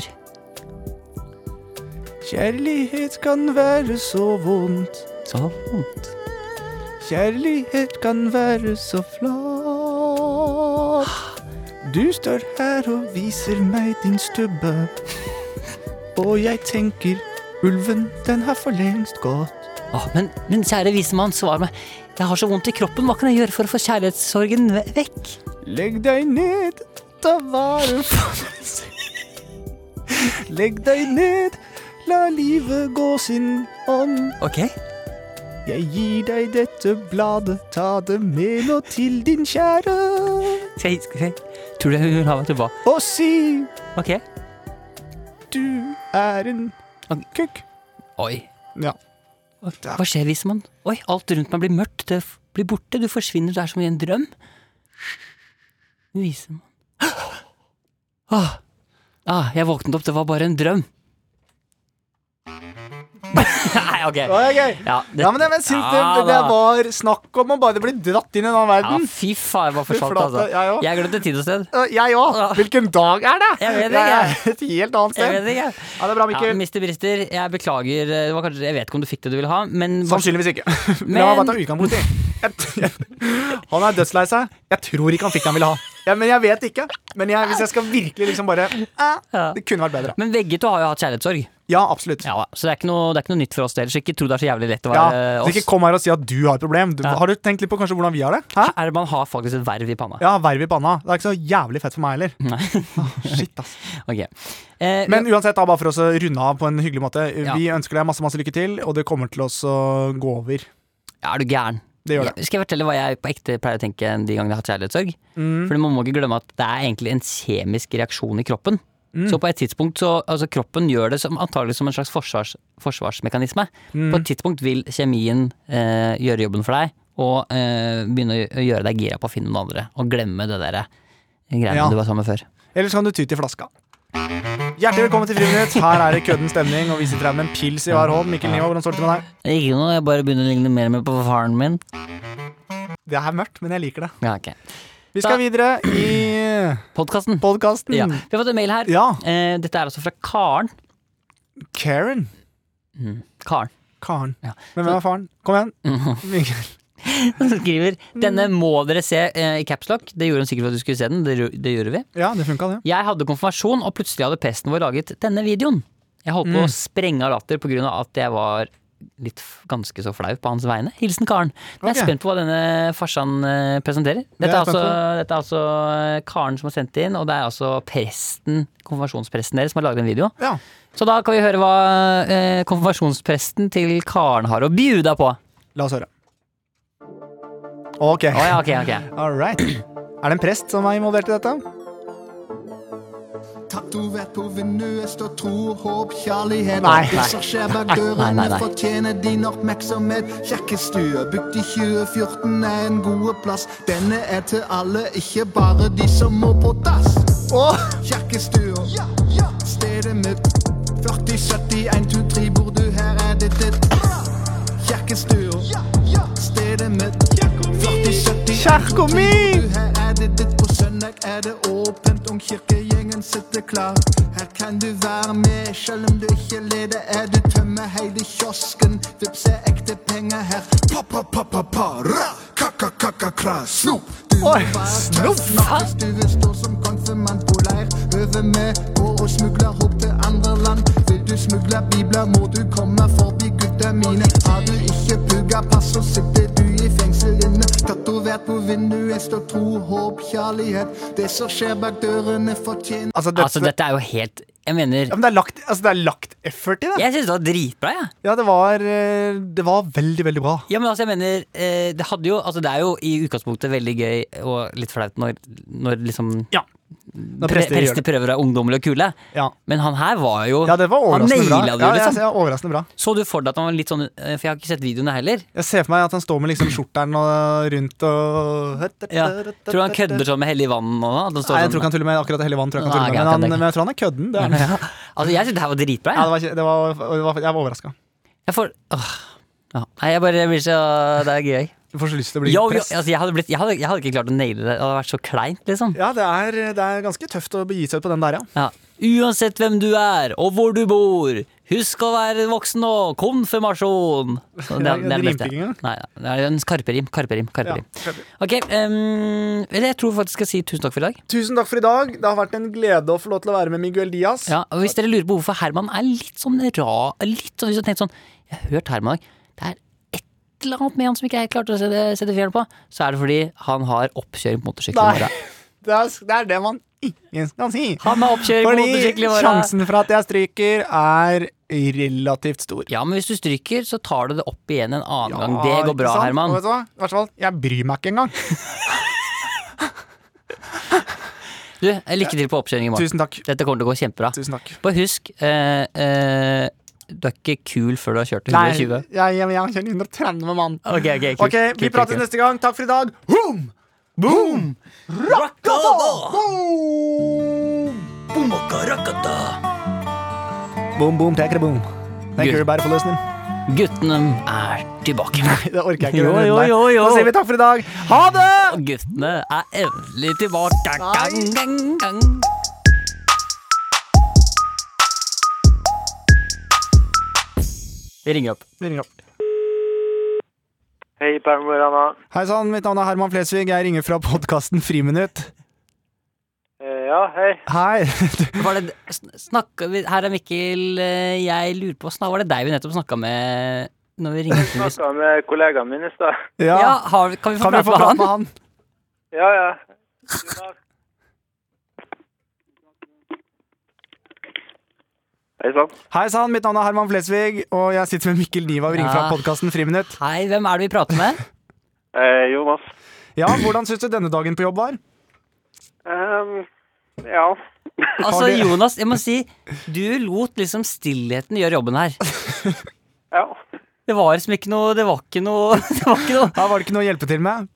S3: Kjærlighet kan være så vondt.
S2: Så vondt.
S3: Kjærlighet kan være så flott. Du står her og viser meg din stubbe. Og jeg tenker, ulven, den har for lengst gått.
S2: Åh, men, men kjære visemann, svar meg. Jeg har så vondt i kroppen. Hva kan jeg gjøre for å få kjærlighetssorgen ve- vekk?
S3: Legg deg ned, ta vare på deg selv. Legg deg ned, la livet gå sin ånd.
S2: Ok.
S3: Jeg gir deg dette bladet, ta det med nå til din kjære.
S2: Skal jeg, skal jeg. Tror du hun vil ha meg tilbake?
S3: Og si
S2: Ok.
S3: du er en kukk.
S2: Oi.
S3: Ja.
S2: Hva skjer, visemann? Oi, alt rundt meg blir mørkt. Det f- blir borte. Du forsvinner. Du er som i en drøm. Visemann ah. ah, jeg våknet opp. Det var bare en drøm. Nei, ok.
S3: Det er gøy.
S2: Ja, det-
S3: Ja, men det er vel sykt. Det,
S2: Ja,
S3: det, det
S2: da.
S3: var snakk om å bare bli dratt inn i en annen
S2: Ja,
S3: verden.
S2: fy faen, jeg bare forsvant,
S3: flate,
S2: altså.
S3: jeg også.
S2: Jeg glemte tid og sted.
S3: Øh, Jeg òg. Hvilken dag er det?
S2: Jeg vet
S3: er et helt annet
S2: Jeg
S3: sted.
S2: vet ikke.
S3: Ja, det er bra,
S2: Ja,
S3: Mikkel.
S2: Mr. Brister, jeg beklager. Det var kanskje, jeg vet ikke om du fikk det du ville ha, men
S3: Sannsynligvis ikke. Men... La meg bare ta utgangspunkt i Jeg- jeg- Han er dødslei seg. Jeg tror ikke han fikk det han ville ha. Ja, men jeg vet ikke. Men jeg, hvis jeg skal virkelig liksom bare
S2: Ja.
S3: eh, Det kunne vært bedre.
S2: men begge to har jo hatt kjærlighetssorg.
S3: Ja, absolutt.
S2: Ja, så det er ikke noe, det er ikke noe nytt for oss det, ellers. Ikke tro det er så jævlig lett å
S3: Ja,
S2: være
S3: så
S2: oss.
S3: ikke kom her og si at du har et problem. Du,
S2: Ja.
S3: Har du tenkt litt på kanskje hvordan vi har det? Hæ?
S2: Er det man har faktisk et verv i panna.
S3: Ja, verv i panna. Det er ikke så jævlig fett for meg heller.
S2: Nei.
S3: Åh, shit, ass.
S2: Ok. Eh,
S3: Men uansett, da, bare for oss å runde av på en hyggelig måte.
S2: Ja.
S3: Vi ønsker deg masse, masse lykke til, og det kommer til oss å gå over.
S2: ja, er du gæren?
S3: Det gjør det.
S2: Skal jeg fortelle hva jeg på ekte pleier å tenke de gangene jeg har hatt kjærlighetssorg?
S3: Mm.
S2: For man må ikke glemme at det er egentlig en kjemisk reaksjon i kroppen.
S3: Mm.
S2: Så på et tidspunkt så altså kroppen gjør det som, antagelig som en slags forsvars, forsvarsmekanisme.
S3: Mm.
S2: På et tidspunkt vil kjemien eh, gjøre jobben for deg, og eh, begynne å gjø- gjøre deg gira på å finne noen andre. Og glemme det derre greiene
S3: Ja.
S2: du var sammen med før.
S3: Ellers kan du ty til flaska. Hjertelig velkommen til Friminutt. Her er det kødden stemning, og vi sitter her med en pils i hver hånd. Mikkel Niva, hvordan står det til med deg?
S2: Ikke noe, jeg bare begynner å ligne mer og mer på faren min.
S3: Det er mørkt, men jeg liker det.
S2: Ja, ok.
S3: Vi skal
S2: Da-
S3: videre i
S2: Podkasten.
S3: podkasten.
S2: Ja. Vi har fått en mail her.
S3: Ja.
S2: Eh, dette er altså fra Karen.
S3: Karen.
S2: Karen
S3: Karen.
S2: Ja.
S3: Men hvem er faren? Kom igjen. Mikkel.
S2: som skriver Denne må dere se eh, i capslock. Det gjorde hun sikkert for at du skulle se den. Det, gjo- det gjorde vi.
S3: Ja, det funka, det.
S2: Jeg hadde konfirmasjon, og plutselig hadde presten vår laget denne videoen. Jeg holdt
S3: Mm.
S2: på å sprenge av latter pga. at jeg var litt f- ganske så flau på hans vegne. Hilsen Karen. Jeg er
S3: Ok.
S2: spent på hva denne farsan eh, presenterer.
S3: er
S2: Dette er,
S3: jeg
S2: altså, dette er altså eh, Karen som har sendt inn, og det er altså presten, konfirmasjonspresten deres som har laget en video.
S3: Ja.
S2: Så da kan vi høre hva eh, konfirmasjonspresten til Karen har å bjuda på.
S3: La oss høre. Ok.
S2: Å ja, ok, ok.
S3: All right. Er det en prest som er involvert i dette?
S6: Tatovert på vinduet står tro, håp, kjærlighet.
S3: Nei,
S6: Og disse skjer bak
S2: Nei, nei,
S6: dørene
S2: nei.
S6: fortjener din oppmerksomhet. Kjekkestue bygd i 2014 er en god plass. Denne er til alle, ikke bare de som må på dass.
S3: Åh,
S6: Kjekkestua, stedet mitt. 40, 70, 1, 2, 3, bor du her, er det ditt. Kjerkestua, stedet mitt. 40, 70,
S3: Kjerka mi!
S6: her er det ditt. På søndag er det åpent om kirkegjengen sitter klar. Her kan du være med, selv om du ikke leder. Er du tømmer hele kiosken, vips er ekte penger her. Pa, pa, pa, pa, pa, ra, ka, ka, ka, ka, kra, snopp. Du må
S3: Oi,
S6: bare ta
S3: snopp,
S6: snakk hvis du vil stå som konfirmant på leir. Øve med på å smugle opp til andre land. Vil du smugle bibler, må du komme forbi gutta mine. Har du ikke pugga pass, så sitter du i fengsel inne. Tatovert på vinduet står tro, håp, kjærlighet. Det som skjer bak dørene, fortjener
S3: Altså, dette,
S2: Altså, dette er jo helt Jeg mener
S3: ja, men det, er lagt, altså, det er lagt effort i det.
S2: Jeg synes det var dritbra, jeg.
S3: Ja, det var, eh, det var veldig, veldig bra.
S2: Ja, men altså, jeg mener eh, Det hadde jo Altså, det er jo i utgangspunktet veldig gøy og litt flaut når, når liksom
S3: Ja. Når
S2: pre-
S3: prester gjør
S2: prester
S3: det.
S2: prøver å være ungdommelig og kule.
S3: Ja.
S2: Men han her var jo
S3: Ja, det var
S2: Han
S3: overraskende bra.
S2: naila det
S3: Ja,
S2: jo,
S3: jeg,
S2: liksom.
S3: jeg, overraskende bra.
S2: Så du for deg at han var litt sånn eh, For jeg har ikke sett videoene heller.
S3: Jeg ser for meg at han står med liksom skjorteren og rundt og
S2: Ja. Tror du han kødder sånn med hellig vann og sånn? at han står
S3: Nei, jeg
S2: sånn-
S3: tror ikke han tuller med akkurat det hele vann. Tror jeg ikke han
S2: Nei,
S3: tuller med,
S2: jeg kan
S3: men,
S2: tenke.
S3: han, men jeg tror han er kødden. Det er. han.
S2: Ja. Altså, jeg synes det her var dritbra.
S3: Ja,
S2: Jeg,
S3: det var, ikke- det var, det var, jeg var overraska.
S2: jeg får åh. ja. Nei, jeg bare blir så Det er gøy.
S3: Du får så lyst til å bli
S2: Yo, yo,
S3: prest.
S2: altså, jeg, hadde blitt, jeg, hadde, jeg hadde ikke klart å naile det. Det hadde vært så kleint, liksom.
S3: Ja, det er, det er ganske tøft å begi seg ut på den der, ja.
S2: Ja. Uansett hvem du er, og hvor du bor, husk å være voksen nå! Konfirmasjon! Så Det,
S3: Ja, det rimte ikke engang.
S2: Nei, det er en karperim. Karperim. karperim.
S3: Ja, skjønner.
S2: Ok, ehm, eller jeg tror faktisk jeg skal si tusen takk for i dag.
S3: Tusen takk for i dag. Det har vært en glede å få lov til å være med Miguel Diaz.
S2: Ja, og Hvis dere lurer på hvorfor Herman er litt sånn ra litt sånn, Hvis du har tenkt sånn Jeg har hørt Herman i dag. Det er et eller annet med han som ikke jeg klarte å sette, sette fjern på. Så er det fordi han har oppkjøring på motorsykkel i
S3: Nei.
S2: morgen.
S3: Det, er, det er det man ikke skal si.
S2: Han har oppkjøring på motorsykkel
S3: Fordi
S2: i morgen.
S3: sjansen for at jeg stryker, er relativt stor.
S2: Ja, men hvis du stryker, så tar du det opp igjen en annen gang.
S3: Ja,
S2: Det går
S3: ikke
S2: bra,
S3: sant?
S2: Herman.
S3: Og vet du hva? I hvert fall, jeg bryr meg ikke engang.
S2: Du, lykke til på oppkjøring i morgen.
S3: Tusen takk.
S2: Dette kommer til å gå kjempebra.
S3: Tusen takk.
S2: Bare husk, eh, eh, du er ikke kul før du har kjørt
S3: Nei,
S2: 120.
S3: jeg, jeg, jeg kjører 130 mann.
S2: Ok, ok, kult,
S3: Ok,
S2: kult,
S3: vi
S2: kult,
S3: prates
S2: kult.
S3: neste gang. Takk for i dag. Boom! Boom! Rockaball! Boom! Boom, boom, pekere, boom. Thank you,
S2: Good.
S3: everybody, for listening.
S2: Guttene er tilbake.
S3: Det orker jeg ikke.
S2: Jo,
S3: denne
S2: jo,
S3: runden her.
S2: jo, jo.
S3: Da sier vi takk for i dag. Ha det!
S2: Og guttene er endelig tilbake. Gang, gang, gang. Vi ringer opp.
S3: Vi ringer opp.
S5: Hei, Per Morana.
S3: Hei sann, mitt navn er Herman Flesvig. Jeg ringer fra podkasten Friminutt.
S5: Eh, ja, hei.
S3: Hei. Du-
S2: Var det, sn- snakka vi, her er Mikkel. eh, Jeg lurer på snak- Var det deg vi nettopp snakka med når vi ringte? til oss?
S5: Snakka med kollegaen min i stad.
S2: Ja,
S3: Ja,
S2: har, vi- kan vi få
S3: kan vi
S2: prate
S3: få
S2: med
S3: prate med
S2: han?
S3: han?
S5: Ja, ja. God dag. Hei sann.
S3: Hei sann, mitt navn er Herman Flesvig, og jeg sitter med Mikkel Niva. Vi ringer fra
S2: Ja.
S3: podkasten Friminutt.
S2: Hei, hvem er det vi prater med?
S5: Eh, Jonas.
S3: Ja, hvordan syns du denne dagen på jobb var?
S5: Ehm, ja.
S2: Altså,
S3: Har du-
S2: Jonas, jeg må si du lot liksom stillheten gjøre jobben her.
S5: Ja.
S2: Det var liksom ikke noe Det var ikke noe, det var ikke noe.
S3: Ja, var det ikke noe å hjelpe til med?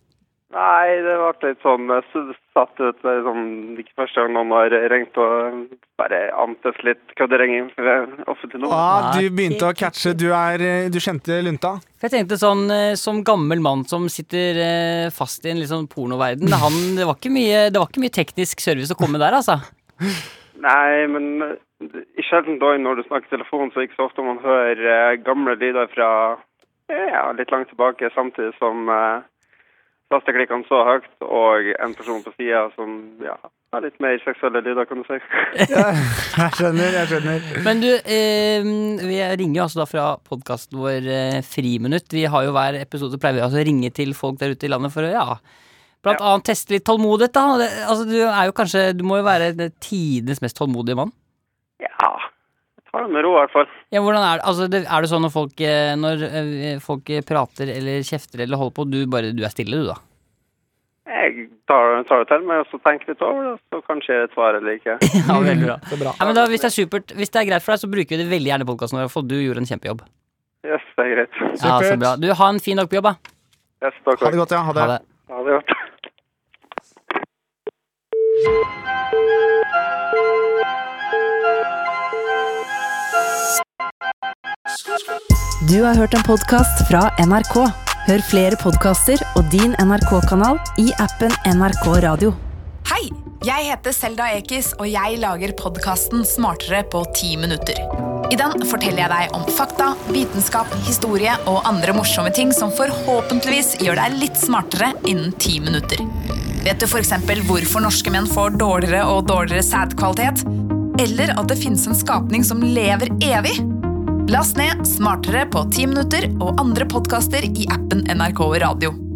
S5: Nei, det ble litt sånn eh, s- satt ut det er sånn, Ikke første gang noen har ringt og bare amtes litt kødderinging ved eh, offentlig nummer.
S3: Ja, Ah, du
S2: Nei.
S3: begynte å catche. Du, er, eh, du kjente lunta.
S2: For jeg tenkte sånn, eh, Som gammel mann som sitter eh, fast i en litt sånn pornoverden han, det, var ikke mye, det var ikke mye teknisk service å komme der, altså.
S5: Nei, men eh, i sjelden dag når du snakker telefon, så er det ikke så ofte man hører eh, gamle lyder fra eh, ja, litt langt tilbake, samtidig som eh, tasteklikkene så høyt, og en person på sida som ja, har litt mer seksuelle lyder, kan du si.
S3: Jeg skjønner, jeg skjønner.
S2: Men du, eh, vi ringer jo altså da fra podkasten vår eh, Friminutt. Vi har jo hver episode pleier vi altså å ringe til folk der ute i landet for å ja, blant annet teste litt tålmodighet. da. Det, altså, Du er jo kanskje, du må jo være tidenes mest tålmodige mann.
S5: Ja, ta det med ro i hvert fall.
S2: Ja, hvordan Er det altså, det- er det sånn når folk, eh, når eh, folk eh, prater eller kjefter eller holder på, du bare du er stille, du, da?
S5: Jeg tar, tar det til meg og så tenker litt over det, så kanskje jeg svarer eller ikke.
S2: Ja, veldig bra.
S3: Så bra.
S2: Ja, men da, hvis, det er supert, hvis det er greit for deg, så bruker vi det veldig gjerne i podkasten vår. For du gjorde en kjempejobb.
S5: Yes, det er greit.
S2: Ja, så
S3: Supert.
S2: bra. Du, Ha en fin dag på jobb, da.
S5: Yes, takk.
S3: Ha det godt, ja. Ha det.
S2: Ha det.
S5: Ha det godt.
S1: Du har hørt en podkast fra NRK. Hør flere podkaster og din NRK-kanal i appen NRK Radio.
S7: Hei! Jeg heter Selda Ekiz, og jeg lager podkasten Smartere på ti minutter. I den forteller jeg deg om fakta, vitenskap, historie og andre morsomme ting som forhåpentligvis gjør deg litt smartere innen ti minutter. Vet du f.eks. hvorfor norske menn får dårligere og dårligere sædkvalitet? Eller at det finnes en skapning som lever evig? Last ned Smartere på ti minutter og andre podkaster i appen NRK Radio.